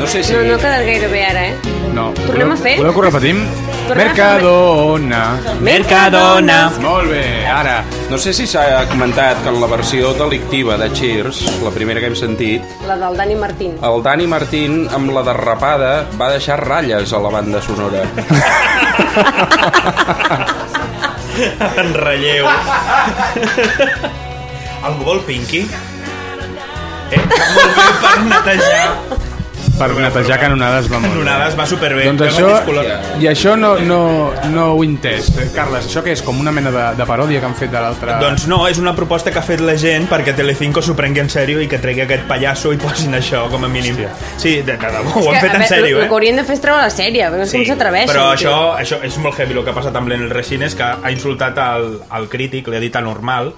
No sé
No, no ha quedat gaire bé ara, eh?
No.
Tornem a fer?
Voleu que ho repetim?
Tornem a fer-
Mercadona.
Mercadona.
Molt bé, ara.
No sé si s'ha comentat que en la versió delictiva de Cheers, la primera que hem sentit,
La del Dani Martín.
el Dani Martín, amb la derrapada, va deixar ratlles a la banda sonora.
En relleu. Algú vol Pinky? Eh? Molt bé per netejar.
Per netejar canonades va molt bé.
Nonades va superbé.
Doncs
Vam
això,
discolor-
i això no, no, no ho he entès. Eh, Carles, això què és? Com una mena de, de paròdia que han fet de l'altra...
Doncs no, és una proposta que ha fet la gent perquè Telecinco s'ho prengui en sèrio i que tregui aquest pallasso i posin això com a mínim. Sí, de, de debò, ho
És
han
que,
fet
a
en
veure, el-
sèrio, eh?
El que haurien de fer és treure la sèrie, no sé com s'atreveixen.
Però
tio.
això, això és molt heavy el que ha passat amb l'Enel Resines, que ha insultat el, el crític, li ha dit anormal,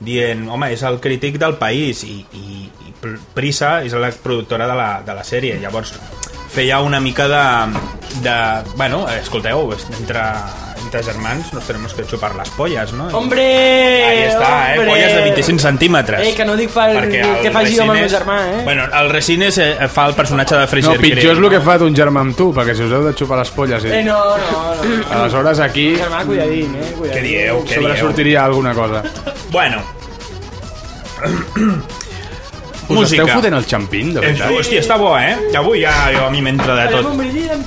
dient, home, és el crític del país i, i, i Pr- Prisa és la productora de la, de la sèrie. Llavors feia una mica de... de bueno, escolteu, entre, entre germans nos tenemos que chupar las pollas, no?
Hombre!
Ahí està, eh?
hombre.
Polles de 25 centímetres.
Eh, que no dic per,
Perquè el
que faci jo amb el meu
Resines-
germà, eh?
Bueno, el Resines eh, fa el personatge de
No,
Fraser
pitjor és el que ha fet un germà amb tu, perquè si us heu de xupar les polles...
Eh, no, no, no.
Aleshores, aquí...
Germà, cuidadín, eh? Cuidadín.
Què dieu? Què dieu?
Sobresortiria alguna cosa.
Bueno.
Us
Música.
esteu fotent el xampín, de veritat?
Eh, Hòstia, està bo, eh? Avui ja jo a mi m'entra de tot.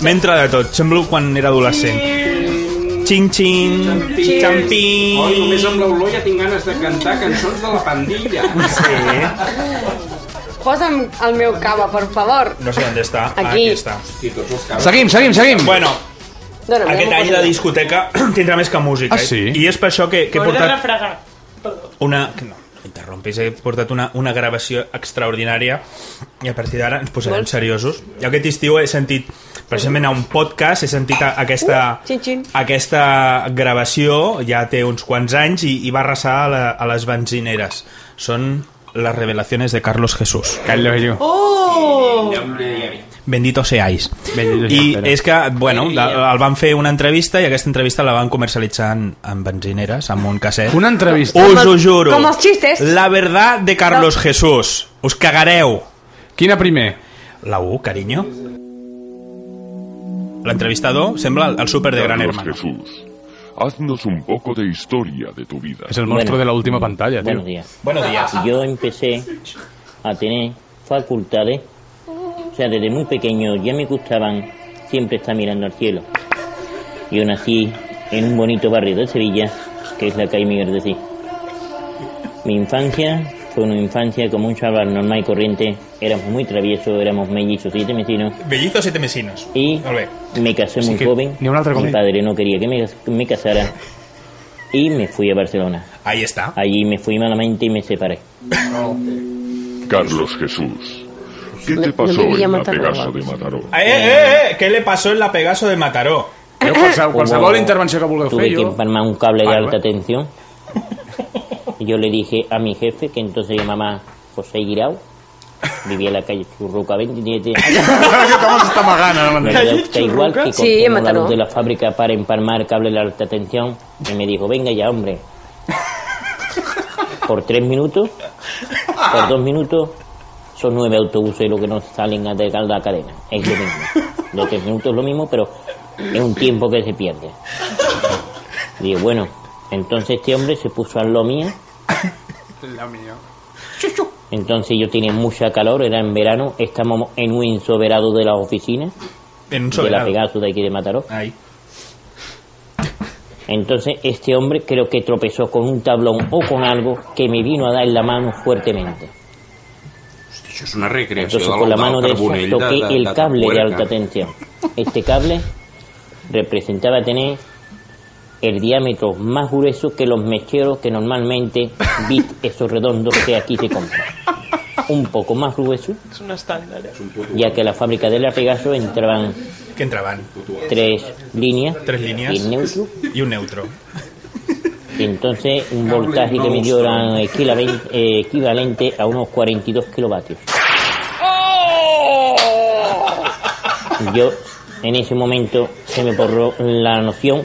M'entra de tot. Semblo quan era adolescent. Xin, xin, xampín...
Oi, només amb l'olor ja tinc ganes de cantar cançons de la pandilla.
Sí.
Posa'm el meu cava, per favor.
No sé on està.
Aquí.
Aquí està.
Seguim, seguim, seguim.
Bueno,
Dóna'm, ja
aquest
m'ho
any
poso.
la discoteca tindrà més que música. eh?
Ah, sí?
I és per això que, que he
M'hauré de
portat...
refregar.
una... que No, no interrompis, he portat una, una gravació extraordinària i a partir d'ara ens posarem seriosos. Jo aquest estiu he sentit, precisament a un podcast, he sentit a, aquesta,
Xin, xin.
aquesta gravació, ja té uns quants anys, i, i va arrasar a, la, a les benzineres. Són Las revelaciones de Carlos Jesús.
Carlos Jesús.
¡Oh!
Bendito seáis. I és que, bueno, de- el van fer una entrevista i aquesta entrevista la van comercialitzar en, en benzineres, amb un casset.
Una entrevista?
Us
Com
ho
els-
juro.
com els xistes.
La verdad de Carlos Jesús. Us cagareu.
Quina primer?
La U, carinyo. L'entrevistador sembla el súper de Gran
Carlos
Hermano.
Jesús, haznos un poco de historia de tu vida.
Es el monstruo de la última pantalla, tío.
Buenos días.
Buenos días.
Yo empecé a tener facultades, o sea, desde muy pequeño ya me gustaban siempre estar mirando al cielo. Yo nací en un bonito barrio de Sevilla, que es la calle Miguel de Cí. Mi infancia fue una infancia como un chaval normal y corriente. Éramos muy traviesos, éramos mellizos, siete vecinos.
Bellizos siete mesinos.
Y me casé
Sí
muy
que
joven.
ni una otra
Mi
comida.
padre no quería que me, me casara. Y me fui a Barcelona.
Ahí está.
Allí me fui malamente y me separé.
Carlos Jesús, ¿qué te
no
pasó
me diga
en la
Mataró,
Pegaso
vamos.
de Mataró?
Eh, eh, eh, què le pasó en la Pegaso de Mataró?
Déu, qualsevol, qualsevol intervenció que vulgueu
Tuve
fer,
que
jo...
empalmar un cable de
Vale,
alta
vale.
tensión. Y Yo le dije a mi jefe, que entonces se llamaba José Guirao, vivía en la calle Churruca 27.
Estamos hasta magana, no
Me
m'entenc.
da igual que
Sí,
compré
en
la
Mataró.
luz de la fábrica para empalmar cable de alta tensión y me dijo, venga ya, hombre. Por tres minutos, por dos minutos, son nueve autobuses los que nos salen a de la cadena. Es lo mismo. Los tres minutos es lo mismo, pero es un tiempo que se pierde. Digo, bueno, entonces este hombre se puso al lo mío
La mía.
entonces yo tenía mucha calor, era en verano, estábamos en un insoberado de las oficinas.
En un
De la
soberado.
Pegasus de aquí de Mataró.
Ahí.
Entonces este hombre creo que tropezó con un tablón o con algo que me vino a dar en la mano fuertemente.
Això és una recreació
Entonces
de
con la mano derecha
Carbonell
toqué
de, de,
el
de
cable de
Tapuerca.
alta tensión. Este cable representaba tener el diámetro más grueso que los mecheros que normalmente bit esos redondos que aquí se compran. Un poco más grueso,
És un estàndard, eh?
ya que la fábrica de la Pegaso entraban
Que entraban.
tres líneas,
Tres líneas.
y el neutro.
I un neutro.
Y entonces un voltaje que me dio era equilaven- eh, equivalente a unos 42 kilovatios.
¡Oh!
Yo en ese momento se me borró la noción.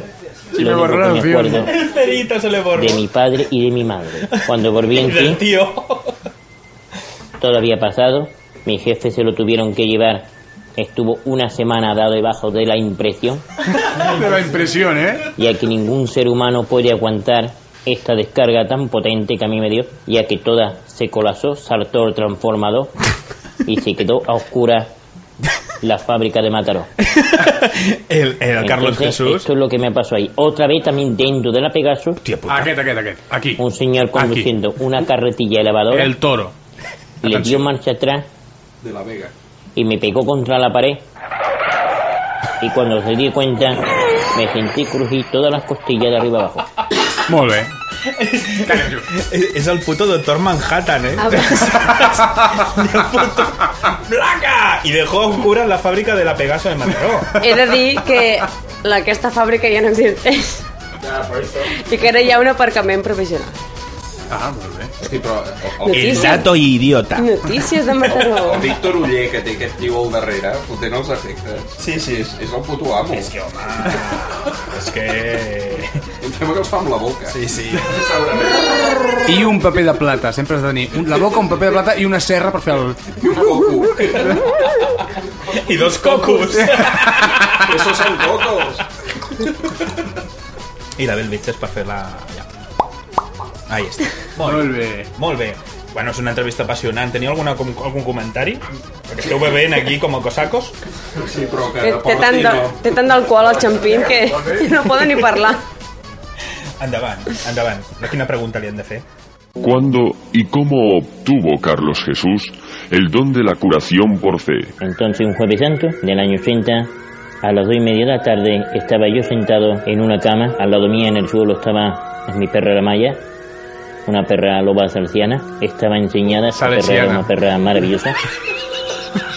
Se
lo
me
único
borró la
que me
noción.
acuerdo
El cerito se le borró.
de mi padre y de mi madre. Cuando volví en sí,
Del tío.
todavía pasado, mi jefe se lo tuvieron que llevar. Estuvo una semana dado debajo de la impresión.
De la impresión, eh?
ya que ningún ser humano puede aguantar esta descarga tan potente que a mí me dio, ya que toda se colapsó, saltó el transformador y se quedó a oscura la fábrica de Mataró.
El, el Carlos
Entonces,
Pues
Jesús.
Esto es lo que me pasó ahí. Otra vez también dentro de la Pegaso.
Ah,
Aquest, aquest, aquest. Aquí.
Un señor conduciendo una carretilla elevadora.
El toro.
Le dio marcha atrás
De la Vega.
y me pegó contra la pared. Y cuando se dio cuenta, me sentí crujir todas las costillas de arriba abajo.
Molt bé.
És, és el puto doctor Manhattan, eh?
Ah,
¡Placa! Y dejó oscura la fábrica de la Pegaso de Mataró.
He de dir que la- aquesta fàbrica ja no existeix i que ara hi ha un aparcament provisional.
Ah, molt bé.
Sí, però...
o- Notícies. dato
idiota.
Notícies de
O, o
Mataró.
Víctor Uller, que té aquest tio al darrere, fotent els efectes.
Sí, sí.
És, és el puto amo.
És que, home... és que...
Em sembla que els fa amb la boca.
Sí, sí.
I un paper de plata. Sempre has de tenir un- la boca, un paper de plata i una serra per fer el...
I dos cocos.
Esos son cocos.
I la Bell Mitges per fer la... Ja. Ahí està. Molt,
Molt bé.
Molt bé. Bueno, és una entrevista apassionant. Teniu alguna, com, algun comentari? Perquè esteu bevent aquí com a cosacos.
Sí, però
Té, té tant de- té tant d'alcohol al xampín que no poden ni parlar.
Endavant, endavant. De quina pregunta li hem de fer?
¿Cuándo y cómo obtuvo Carlos Jesús el don de la curación por fe?
Entonces un jueves santo del año 80, a las dos y media de la tarde, estaba yo sentado en una cama, al lado mía en el suelo estaba mi perra la Maya, una perra loba salesiana, estaba enseñada, esta perra era
Salesiana.
una perra maravillosa.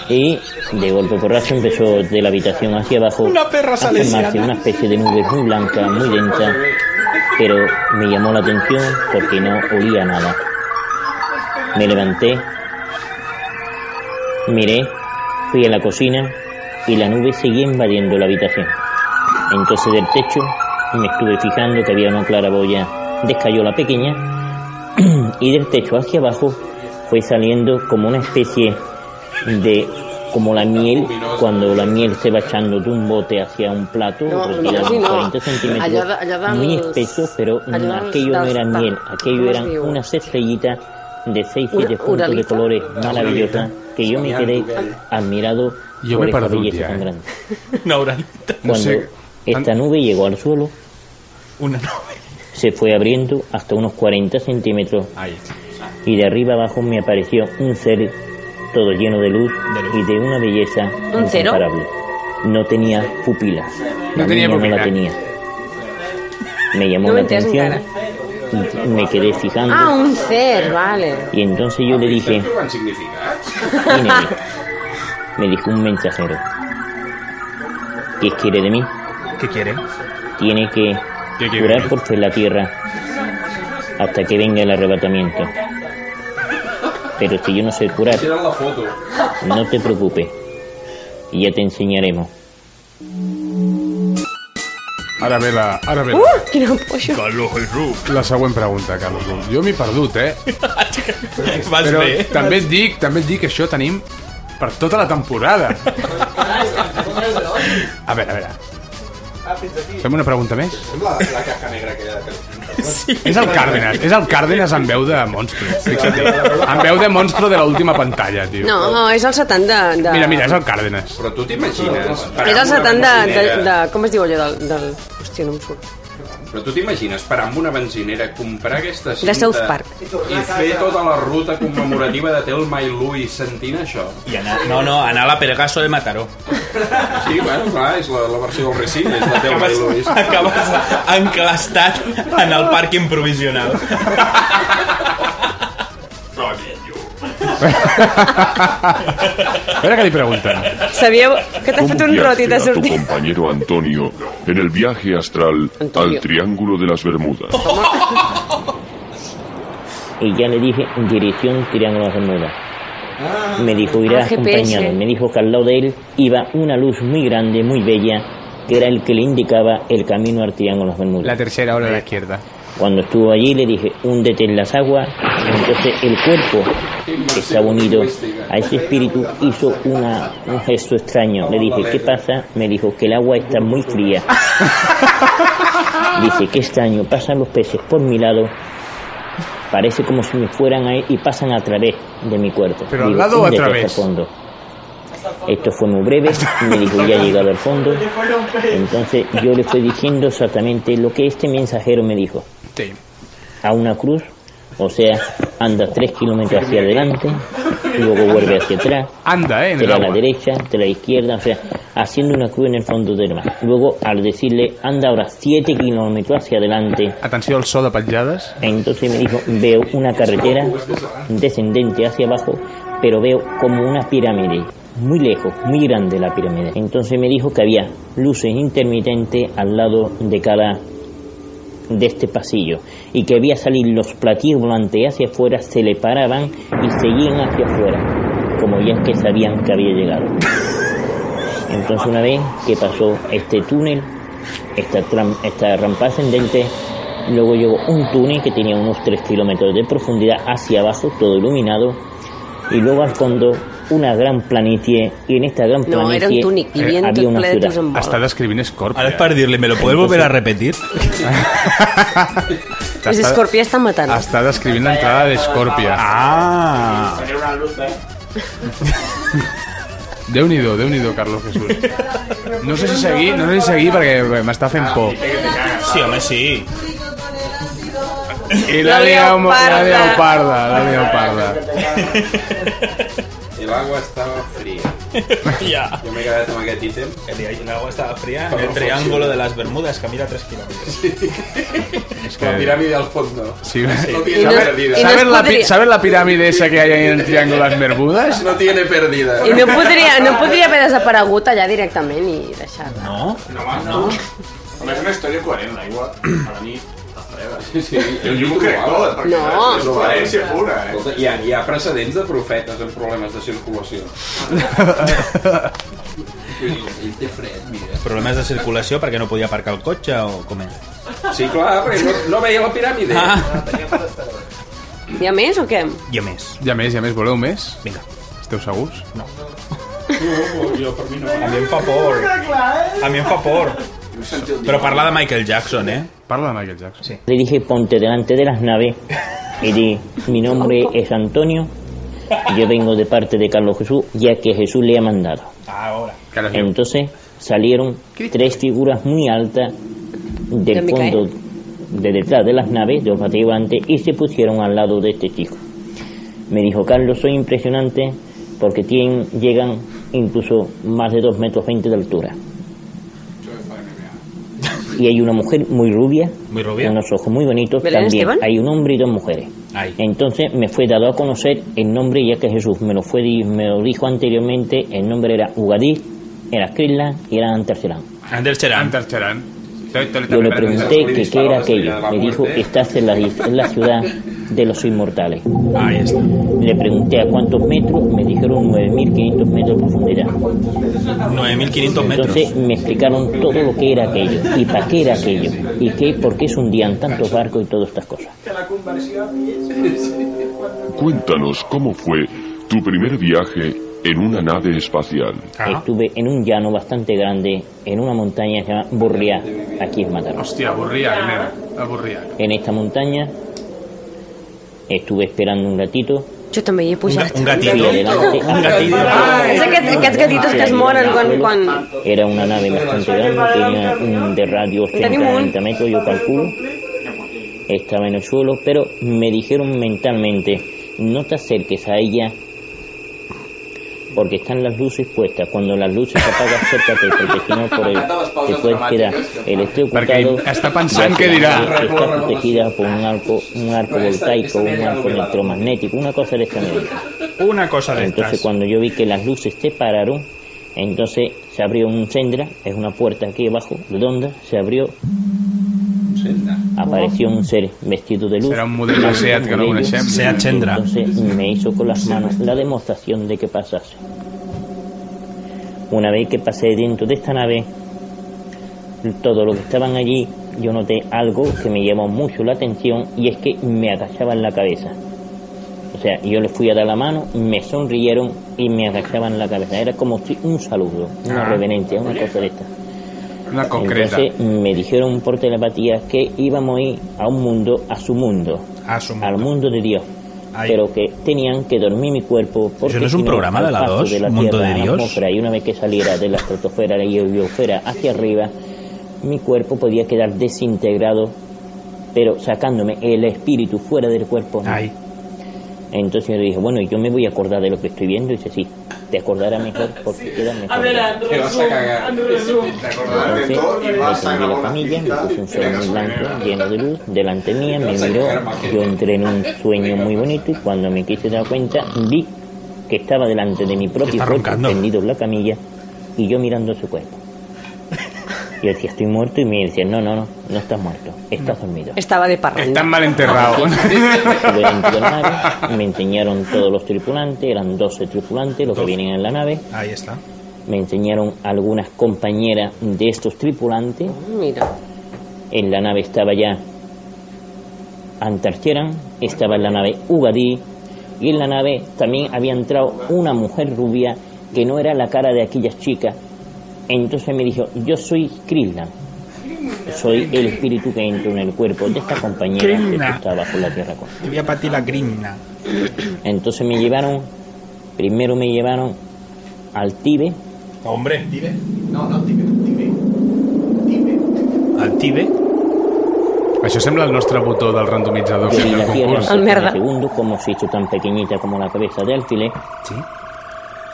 Y de golpe porrazo empezó de la habitación hacia abajo
Una perra
a formarse
salesiana.
una especie de nube muy blanca, muy lenta, pero me llamó la atención porque no olía nada. Me levanté, miré, fui a la cocina y la nube seguía invadiendo la habitación. Entonces del techo me estuve fijando que había una claraboya descayola pequeña y del techo hacia abajo fue saliendo como una especie de como la miel cuando la miel se va echando de un bote hacia un plato
No,
pues,
no,
digamos,
sí, no.
40 centímetros
Allà de- allà dels-
muy espeso pero
allà dels-
aquello no
dels
era
ta-
miel aquello
com es
eran
diu?
unas estrellitas de seis
Una-
siete puntos de
uralita?
colores maravillosas
uralita.
que yo me quedé admirado
Yo
por
me he
esa
perdido un
belleza
día,
tan
eh.
grande
Una oralita.
cuando esta nube llegó al suelo
Una
se fue abriendo hasta unos 40 centímetros y de arriba abajo me apareció un ser todo lleno de luz y de una belleza
¿Un cero?
incomparable. No tenía pupila.
No
La niña
tenía
No
pupila.
la tenía. Me llamó
No me
la
enteras
atención y me quedé fijando
Ah, un cer, vale.
y entonces yo le dije,
¿eh?
me dijo un mensajero, ¿qué quiere de mí?
¿Qué quiere?
Tiene que
quiere de
jurar
mí?
por fe en la tierra hasta que venga el arrebatamiento. Pero si yo no sé curar,
la foto.
no te preocupes. Ya te enseñaremos.
Ara ve la... Ara ve la...
Uh, quina pollo.
Carlos Ruc. La següent pregunta, Carlos Ruc. Jo m'he perdut, eh?
Vas
Però
bé.
també et dic, també et dic que això tenim per tota la temporada. A veure, a veure. Fem una pregunta més?
Ah, Sembla la caja negra aquella de
Sí. És el Cárdenas, és el Cárdenas amb veu de monstro. Fixa't. Amb veu de monstro de l'última pantalla, tio.
No, no, és el 70 de... de...
Mira, mira, és el Cárdenas. Però
tu t'imagines?
és el 70 de, de, de... Com es diu allò del... del... Hòstia, no em surt.
Però tu t'imagines parar amb una benzinera, comprar aquesta cinta...
De South Park.
I fer tota la ruta commemorativa de Telma i Louis sentint això.
I anar, no, no, anar a la Pegaso de Mataró.
Sí, bueno, clar, és la, la versió del Recine, és la Telma i
Acabes,
Louis.
acabes enclastat en el pàrquing provisional.
A veure què li pregunten.
Sabíeu que t'ha
¿Cómo
fet un rot i
guiaste
t'ha
a tu
sortit...
compañero Antonio en el viaje astral al Triángulo de las Bermudas?
Y ya le dije dirección Triángulo de Bermuda. Me dijo
Ah,
irá
GPS.
acompañado. Me dijo que al lado de él iba una luz muy grande, muy bella, que era el que le indicaba el camino al Triángulo de Bermuda.
La tercera ola a la izquierda.
Cuando estuvo allí le dije, húndete en las aguas. Entonces el cuerpo, que estaba unido a ese espíritu, hizo una, un gesto extraño. Le dije, ¿qué pasa? Me dijo que el agua está muy fría. Dice, qué extraño, pasan los peces por mi lado. Parece como si me fueran a y pasan a través de mi cuerpo.
Pero al lado o a
"Húndete hasta
través".
el fondo. Esto fue muy breve, me dijo ya he llegado al fondo. Entonces yo le fui diciendo exactamente lo que este mensajero me dijo. A una cruz, o sea, anda tres kilómetros hacia adelante, luego vuelve hacia atrás,
Anda, eh, en
te
el
la a la
agua.
derecha, te la izquierda, o sea, haciendo una cruz en el fondo del mar. Luego, al decirle, anda ahora siete kilómetros hacia adelante,
Atenció al so de petjades.
entonces me dijo, veo una carretera descendente hacia abajo, pero veo como una pirámide, muy lejos, muy grande la pirámide. Entonces me dijo que había luces intermitentes al lado de cada de este pasillo y que veía salir los platillos volantes hacia afuera, se le paraban y seguían hacia afuera, como ya que sabían que había llegado. Entonces una vez que pasó este túnel, esta, tram- esta rampa ascendente, luego llegó un túnel que tenía unos 3 kilómetros de profundidad hacia abajo, todo iluminado, y luego al fondo una gran planicie, y en esta gran
No,
planicie
era un túnel, i
eh,
havia
había
tot
una
ple de tus
ciudad.
embol.
Està descrivint Scorpio.
Ara és per dir-li, ¿me lo puedes volver a repetir?
Els escorpions estan matant.
Està descrivint l'entrada d'Escorpia. Ah! Déu-n'hi-do, Déu-n'hi-do, Carlos Jesús. No sé si seguir, no sé si seguir perquè m'està fent por.
Sí, home, sí.
I la leoparda. La leoparda, la leoparda.
I l'agua estava fria.
Ja.
Jo m'he quedat amb aquest ítem.
El agua estaba fría en
Pero
el
no
triángulo
funciona.
de las Bermudas, que mira tres kilómetros.
És que... La piràmide al fondo.
Sí,
No
sí.
tiene perdida.
¿Sabes la, pi- ¿Sabes la pirámide esa que hay ahí en el Triángulo de las Bermudas?
No tiene perdida.
I no podria, no podria haver desaparegut allà directament i deixar-la.
No?
No, home, no. Home, és una història coherent, l'aigua. Per mi,
Sí, sí.
Jo- jo m'ho crec tot, perquè No. és coherència pura, eh?
Escolta, hi ha, hi ha precedents de profetes amb problemes de circulació. Vull dir, Ell té fred, mira.
Problemes de circulació perquè no podia aparcar el cotxe o com era?
Sí, clar, perquè no, no veia la piràmide.
Ah.
Hi ha més o què?
Hi ha més.
Hi ha més, hi ha més. Voleu més?
Vinga.
Esteu segurs? No.
Jo, per mi no. A mi em fa por. A mi em fa por. Però parlar de Michael Jackson, eh?
Parla de Michael Jackson.
Sí.
Le dije, ponte delante de las naves y di, mi nombre es Antonio, yo vengo de parte de Carlos Jesús, ya que Jesús le ha mandado.
Ahora.
Entonces salieron tres figuras muy altas
¿De
del
Micael?
fondo, de detrás de las naves, de olfativo antes, y se pusieron al lado de este chico. Me dijo, Carlos, soy impresionante porque tienen, llegan incluso más de 2 metros 20 de altura. Y hay una mujer muy rubia,
Muy rubia.
con unos ojos muy bonitos.
¿Belén
También
Esteban?
hay un hombre y dos mujeres.
Ay.
Entonces me fue dado a conocer el nombre, ya que Jesús me lo fue di- me lo dijo anteriormente. El nombre era Ugadí, era Kirlan y era Antercelán.
Ander Cheran.
Ander Cheran.
Yo le pregunté que qué era aquello. Me dijo, estás en la, en la ciudad de los inmortales. Le pregunté a cuántos metros, me dijeron 9.500 metros de profundidad.
9.500 metros.
Entonces me explicaron todo lo que era aquello y para qué era aquello y qué, por qué se hundían tantos barcos y todas estas cosas.
Cuéntanos cómo fue tu primer viaje en una nave espacial.
Estuve en un llano bastante grande, en una montaña que se llama Burriá, aquí en Mataró.
Hòstia, avorria, nena. Avorria.
En esta montaña estuve esperando un gatito.
Jo també hi he pujat.
Un gatito. Un gatito.
És aquest, aquests gatitos que es moren quan... quan...
Era una nave bastante grande, tenía un de radio
Tenim
80
un.
90 metros, yo calculo. Estaba en el suelo, pero me dijeron mentalmente, no te acerques a ella porque están las luces puestas. Cuando las luces se apagan, acércate, porque si no, por el, te puedes quedar el estrés
Perquè
ocultado.
està pensant
Ya
què
que
dirà.
la nave Está protegida por un arco, un arco voltaico, un arco electromagnético, una cosa de esta manera.
Una cosa de
Entonces
estas.
cuando yo vi que las luces se pararon, entonces se abrió un sendra, es una puerta aquí abajo, redonda, se abrió, apareció un ser vestido de luz.
Será un modelo
Blanco,
Seat que no
modelo,
conocemos.
Seat Chendra.
Entonces me hizo con las manos la demostración de que pasase. Una vez que pasé dentro de esta nave, todos los que estaban allí, yo noté algo que me llamó mucho la atención y es que me agachaban la cabeza. O sea, yo les fui a dar la mano, me sonrieron y me agachaban la cabeza. Era como si un saludo, una
Ah.
reverencia, una cosa de esta.
Una concreta.
Entonces me dijeron por telepatía que íbamos a ir a un mundo, a su mundo,
Ah,
al mundo de Dios. Pero que tenían que dormir mi cuerpo porque
no es un
si
programa
al
de la
paso
dos,
la
Mundo
Tierra
de
a la
Dios.
atmósfera, y una vez que saliera de la estratosfera y la biosfera hacia arriba, mi cuerpo podía quedar desintegrado, pero sacándome el espíritu fuera del cuerpo. no. Entonces yo dije, bueno, yo me voy a acordar de lo que estoy viendo. Y dice, sí, te acordarás mejor porque queda mejor.
A veure, en
Te vas a
resum,
cagar.
en resum.
Entonces, me prendí la camilla, me puse un sueño muy blanco, lleno de luz, delante mía, me miró, yo entré en un sueño muy bonito y cuando me quise dar cuenta, vi que estaba delante de mi propio cuerpo, tendido en la camilla, y yo mirando su cuerpo. Yo decía, estoy muerto, y me decía, no, no, no, no estás muerto, estás dormido.
Estava de parra.
Estan mal enterrado.
Estuve dentro de la nave, me enseñaron todos los tripulantes, eran 12 tripulantes los que vienen en la nave.
Ahí está.
Me enseñaron algunas compañeras de estos tripulantes.
Mira.
En la nave estaba ya Antarcheran, estaba en la nave Ugadí y en la nave también había entrado una mujer rubia que no era la cara de aquellas chicas. Entonces me dijo, yo soy Krishna, soy el espíritu que entra en el cuerpo de esta compañera que
Krishna.
está bajo la tierra con.
Te voy a patir la grimna.
Entonces me llevaron, primero me llevaron al Tibe.
Hombre.
¿Tibe? No, no, Tibe, Tibe.
Al Tibe?
Això sembla el nostre botó del randomitzador.
Yo vi la tierra en
concurs.
60 segundos, como se hizo tan pequeñita como la cabeza de alfiler.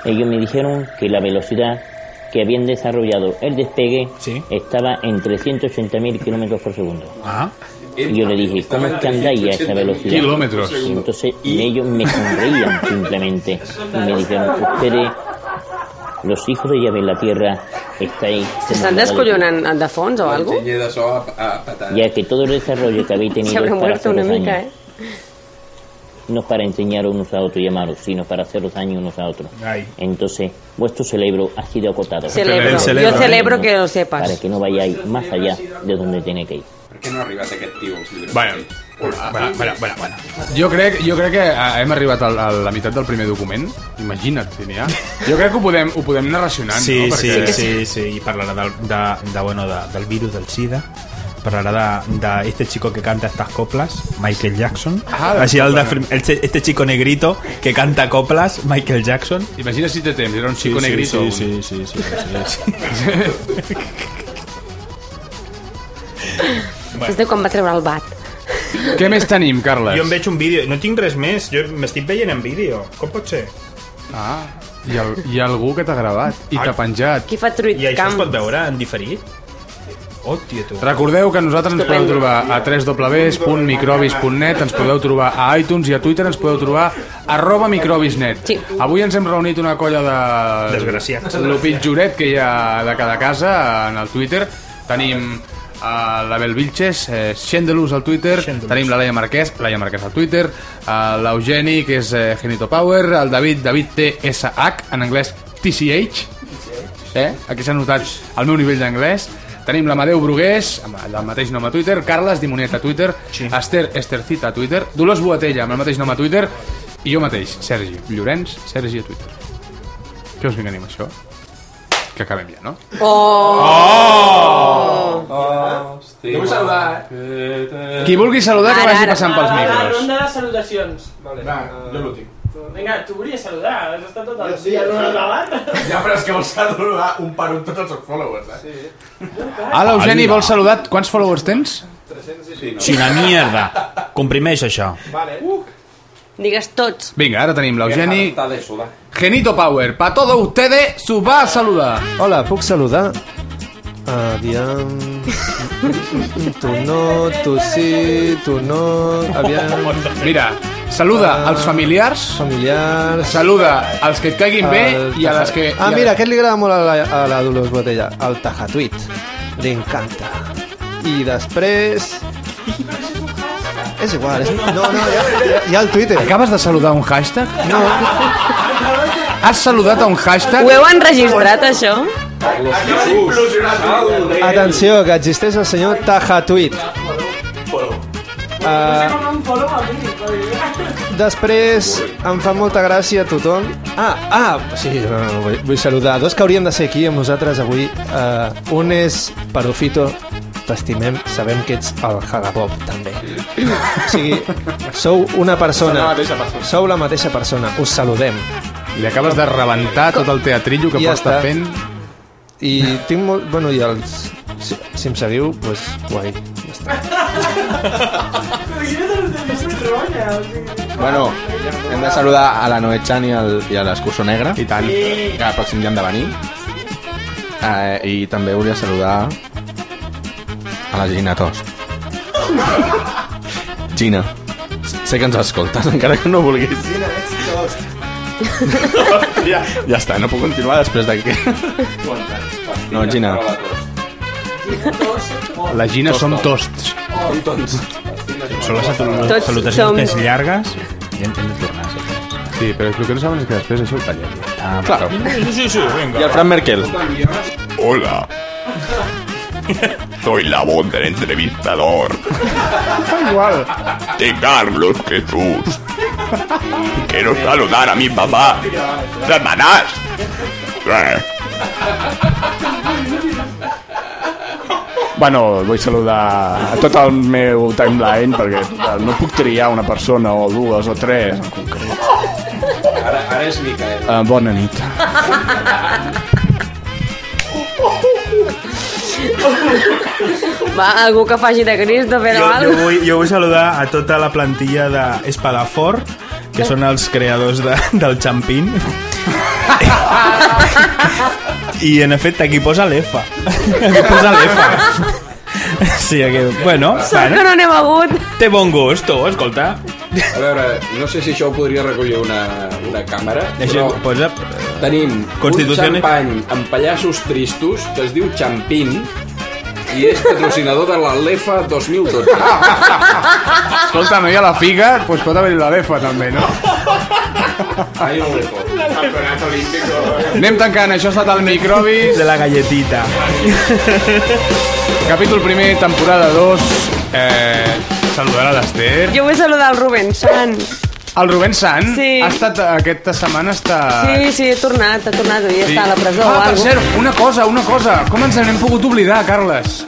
Ellos me dijeron que la velocidad que habían desarrollado el despegue estaba en 380.000 kilómetros por segundo. Y yo le dije, ¿cómo es que andáis a esa velocidad?
Kilómetros.
Y entonces ellos me sonreían simplemente. Y me dijeron, ustedes, los hijos de llave en la tierra, estáis...
¿Se están descollonant de fons o algo?
de so a, a patada.
Ya que todo el desarrollo que habéis
Se
tenido es
habrá
para
muerto
hacer
una
los años.
mica, ¿eh?
no para enseñar unos a otros y amaros, sino para haceros daño unos a otros. Entonces, vuestro cerebro ha sido acotado.
Celebro. El celebro. Yo celebro que lo sepas.
Para que no vayáis más allá de donde tenéis que ir.
Per què no ha arribat aquest tio? als llibres?
Bueno, bueno, bueno, bueno, bueno. Jo crec, jo crec que eh, hem arribat al, a la meitat del primer document. Imagina't, si n'hi ha. Jo crec que ho podem, ho podem anar racionant,
Sí,
no?
sí, sí, sí, sí, i parlarà del, de, de, bueno, de, del virus del SIDA parlará de, de este chico que canta estas coplas, Michael Jackson.
Ah, de
Así al de-
copla.
este, este chico negrito que canta coplas, Michael Jackson.
Imagina si te temps, era un
Sí,
chico
sí,
negrito.
sí, sí, sí, sí, sí,
Bueno. És de quan va treure el bat.
Què més tenim, Carles?
Jo em veig un vídeo, no tinc res més, jo m'estic veient en vídeo. Com pot ser?
Ah, hi ha, hi ha algú que t'ha gravat i t'ha penjat.
Qui fa truit
I això es
camp?
pot veure en diferit? Hòstia, tu.
Recordeu que nosaltres ens podeu trobar a www.microbis.net, ens podeu trobar a iTunes i a Twitter ens podeu trobar arroba microbis.net.
Sí.
Avui ens hem reunit una colla de...
Desgraciats.
Lo pitjoret que hi ha de cada casa en el Twitter. Tenim a la Bel Vilches, eh, Xendelus al Twitter, tenim la Laia Marquès, Laia Marquès al Twitter, a l'Eugeni, que és eh, Genito Power, el David, David TSH, en anglès TCH, eh? aquí s'ha notat el meu nivell d'anglès, Tenim l'Amadeu Brugués, amb el mateix nom a Twitter, Carles Dimonet a Twitter, sí. Esther Estercita a Twitter, Dolors Boatella amb el mateix nom a Twitter, i jo mateix, Sergi Llorenç, Sergi a Twitter. Què us vinc a dir amb això? Que acabem ja, no?
Oh.
Oh!
oh!
Jo vull saludar,
eh? Qui vulgui saludar que
Ara,
vagi
ara.
passant pels
Ara,
La
micros.
ronda de salutacions. Vale.
Va, jo l'últim.
Vinga, tu volies saludar, has estat tot el
Jo sí,
dia
jo
no
sí.
acabant.
Ja, però és que vols saludar un per un tots els seus followers, eh? Sí.
Ah, l'Eugeni vol saludar. Quants followers tens?
Sí, una mierda. Comprimeix això.
Vale. Uh. Digues tots.
Vinga, ara tenim l'Eugeni.
Està de sudar.
Genito Power, pa todos ustedes, su va a saludar.
Hola, puc saludar? Aviam... Tu no, tu sí, tu no... Aviam...
Mira, saluda als familiars.
Familiars.
Saluda als que et caiguin bé
El
i a
taja-
les que...
Ah,
i a-
mira, aquest li agrada molt a la, a la Dolors Botella, el tajatuit. Li encanta. I després... És igual, és... No, no, ja, ja, ja el Twitter.
Acabes de saludar un hashtag? No. Has saludat a un hashtag?
Ho heu enregistrat, això?
Atenció, que existeix el senyor Tajatuit. Uh, Després em fa molta gràcia a tothom. Ah, ah, sí, no, no, vull, vull saludar dos que hauríem de ser aquí amb nosaltres avui. Uh, un és Perofito, t'estimem, sabem que ets el Hagabop, també. O sigui, sou una persona,
Sou la mateixa persona.
sou la mateixa persona, us saludem.
Li acabes de rebentar tot el teatrillo que
ja
porta
està.
fent.
I tinc molt... Bueno, i els... Si, si em seguiu, doncs pues, guai, ja està.
Bueno, hem de saludar a la Noechan i, al, i a l'Excursió Negra. I tant. Que el pròxim dia han de venir. Eh, I també volia saludar a la Gina Tost. Gina, sé que ens escoltes, encara que no vulguis.
Mira, ets tost.
Ja, ja està, no puc continuar després d'aquí. No, Gina.
La Gina som tosts.
Tosts.
Són les salu-
Tots
salutacions
som-
més llargues i en hem de tornar.
Sí, però el que no saben és que després això ho tallem.
Ah,
Claro.
Sí, sí, sí, venga.
I el Fran Merkel.
Hola. Soy la voz del entrevistador
Fa igual.
de Carlos Jesús. Quiero saludar a mi papá. ¡Satanás! Eh,
Bueno, vull saludar a tot el meu timeline perquè total, no puc triar una persona o dues o tres.
Ara, ara és Micael.
Eh, bona nit.
Va, algú que faci de gris de fer
Jo, jo,
alguna cosa.
vull, jo vull saludar a tota la plantilla d'Espadafor, que són els creadors de, del xampín. I, en efecte, aquí posa l'EFA. Aquí posa l'EFA. Sí, aquí... Bueno,
Sort que no n'he begut.
Té bon gust, tu, escolta.
A veure, no sé si això ho podria recollir una, una càmera, però
posa...
tenim un
Constituciones.
xampany amb pallassos tristos que es diu Champín i és patrocinador de l'Alefa 2012.
Escolta, no hi ha la figa, doncs pot haver-hi la lefa també, no?
Ai, Alefa.
Campeonato olímpico.
Anem tancant, això ha estat el Microbis.
De la galletita.
Capítol primer, temporada 2. Eh, saludar a l'Ester.
Jo vull saludar el Rubén Sant.
El Rubén Sant
Sí.
ha estat, aquesta setmana està...
Sí, sí, he tornat, he tornat, devia estar a la presó o
Ah, per
alguna
cert, una cosa, una cosa. Com ens n'hem pogut oblidar, Carles?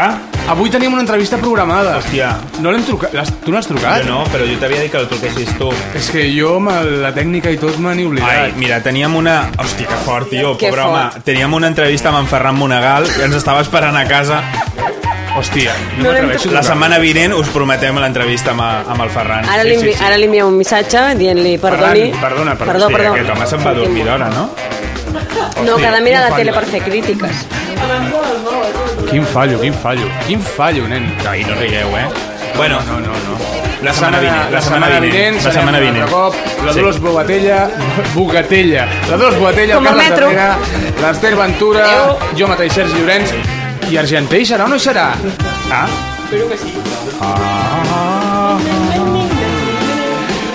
Ah?
Avui tenim una entrevista programada.
Hòstia.
No l'hem trucat? l'has- Tu no has trucat?
Jo no, però jo t'havia dit que el truquessis tu.
És que jo amb la tècnica i tot me n'he oblidat.
Ai, mira, teníem una... Hòstia, que fort, tio,
Que
pobre
fort.
home. Teníem una entrevista amb en Ferran Monagal i ens estava esperant a casa.
Hòstia,
no No l'hem m'atreveixo a trucar.
La setmana vinent us prometem l'entrevista amb, amb el Ferran.
Ara li, envi- ara li enviem un missatge dient-li perdoni.
perdona, perdona.
Perdó,
Hòstia,
perdó.
Aquest home se'n va a dormir d'hora, no?
No,
Hòstia,
que ha de mirar
quin
la
fallo.
tele per fer crítiques.
Quin fallo, quin fallo. Quin fallo, nen.
Ai, no rigueu, eh? Bueno, no,
no, no.
La setmana vinent, la setmana vinent,
la setmana vinent. serem un altre Cop, la
Sí.
Dolors Bogatella, Bogatella, la Dolors Bogatella, el
Com el
Carles
metro.
Herrera, l'Ester Ventura, jo mateix, Sergi Llorenç, i Argentell serà o no serà? Ah?
Espero que sí.
Ah.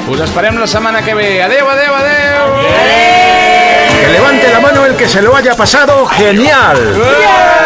Us esperem la setmana que ve. Adeu, adeu, adeu.
Que levante la mano el que se lo haya pasado genial.
Yeah.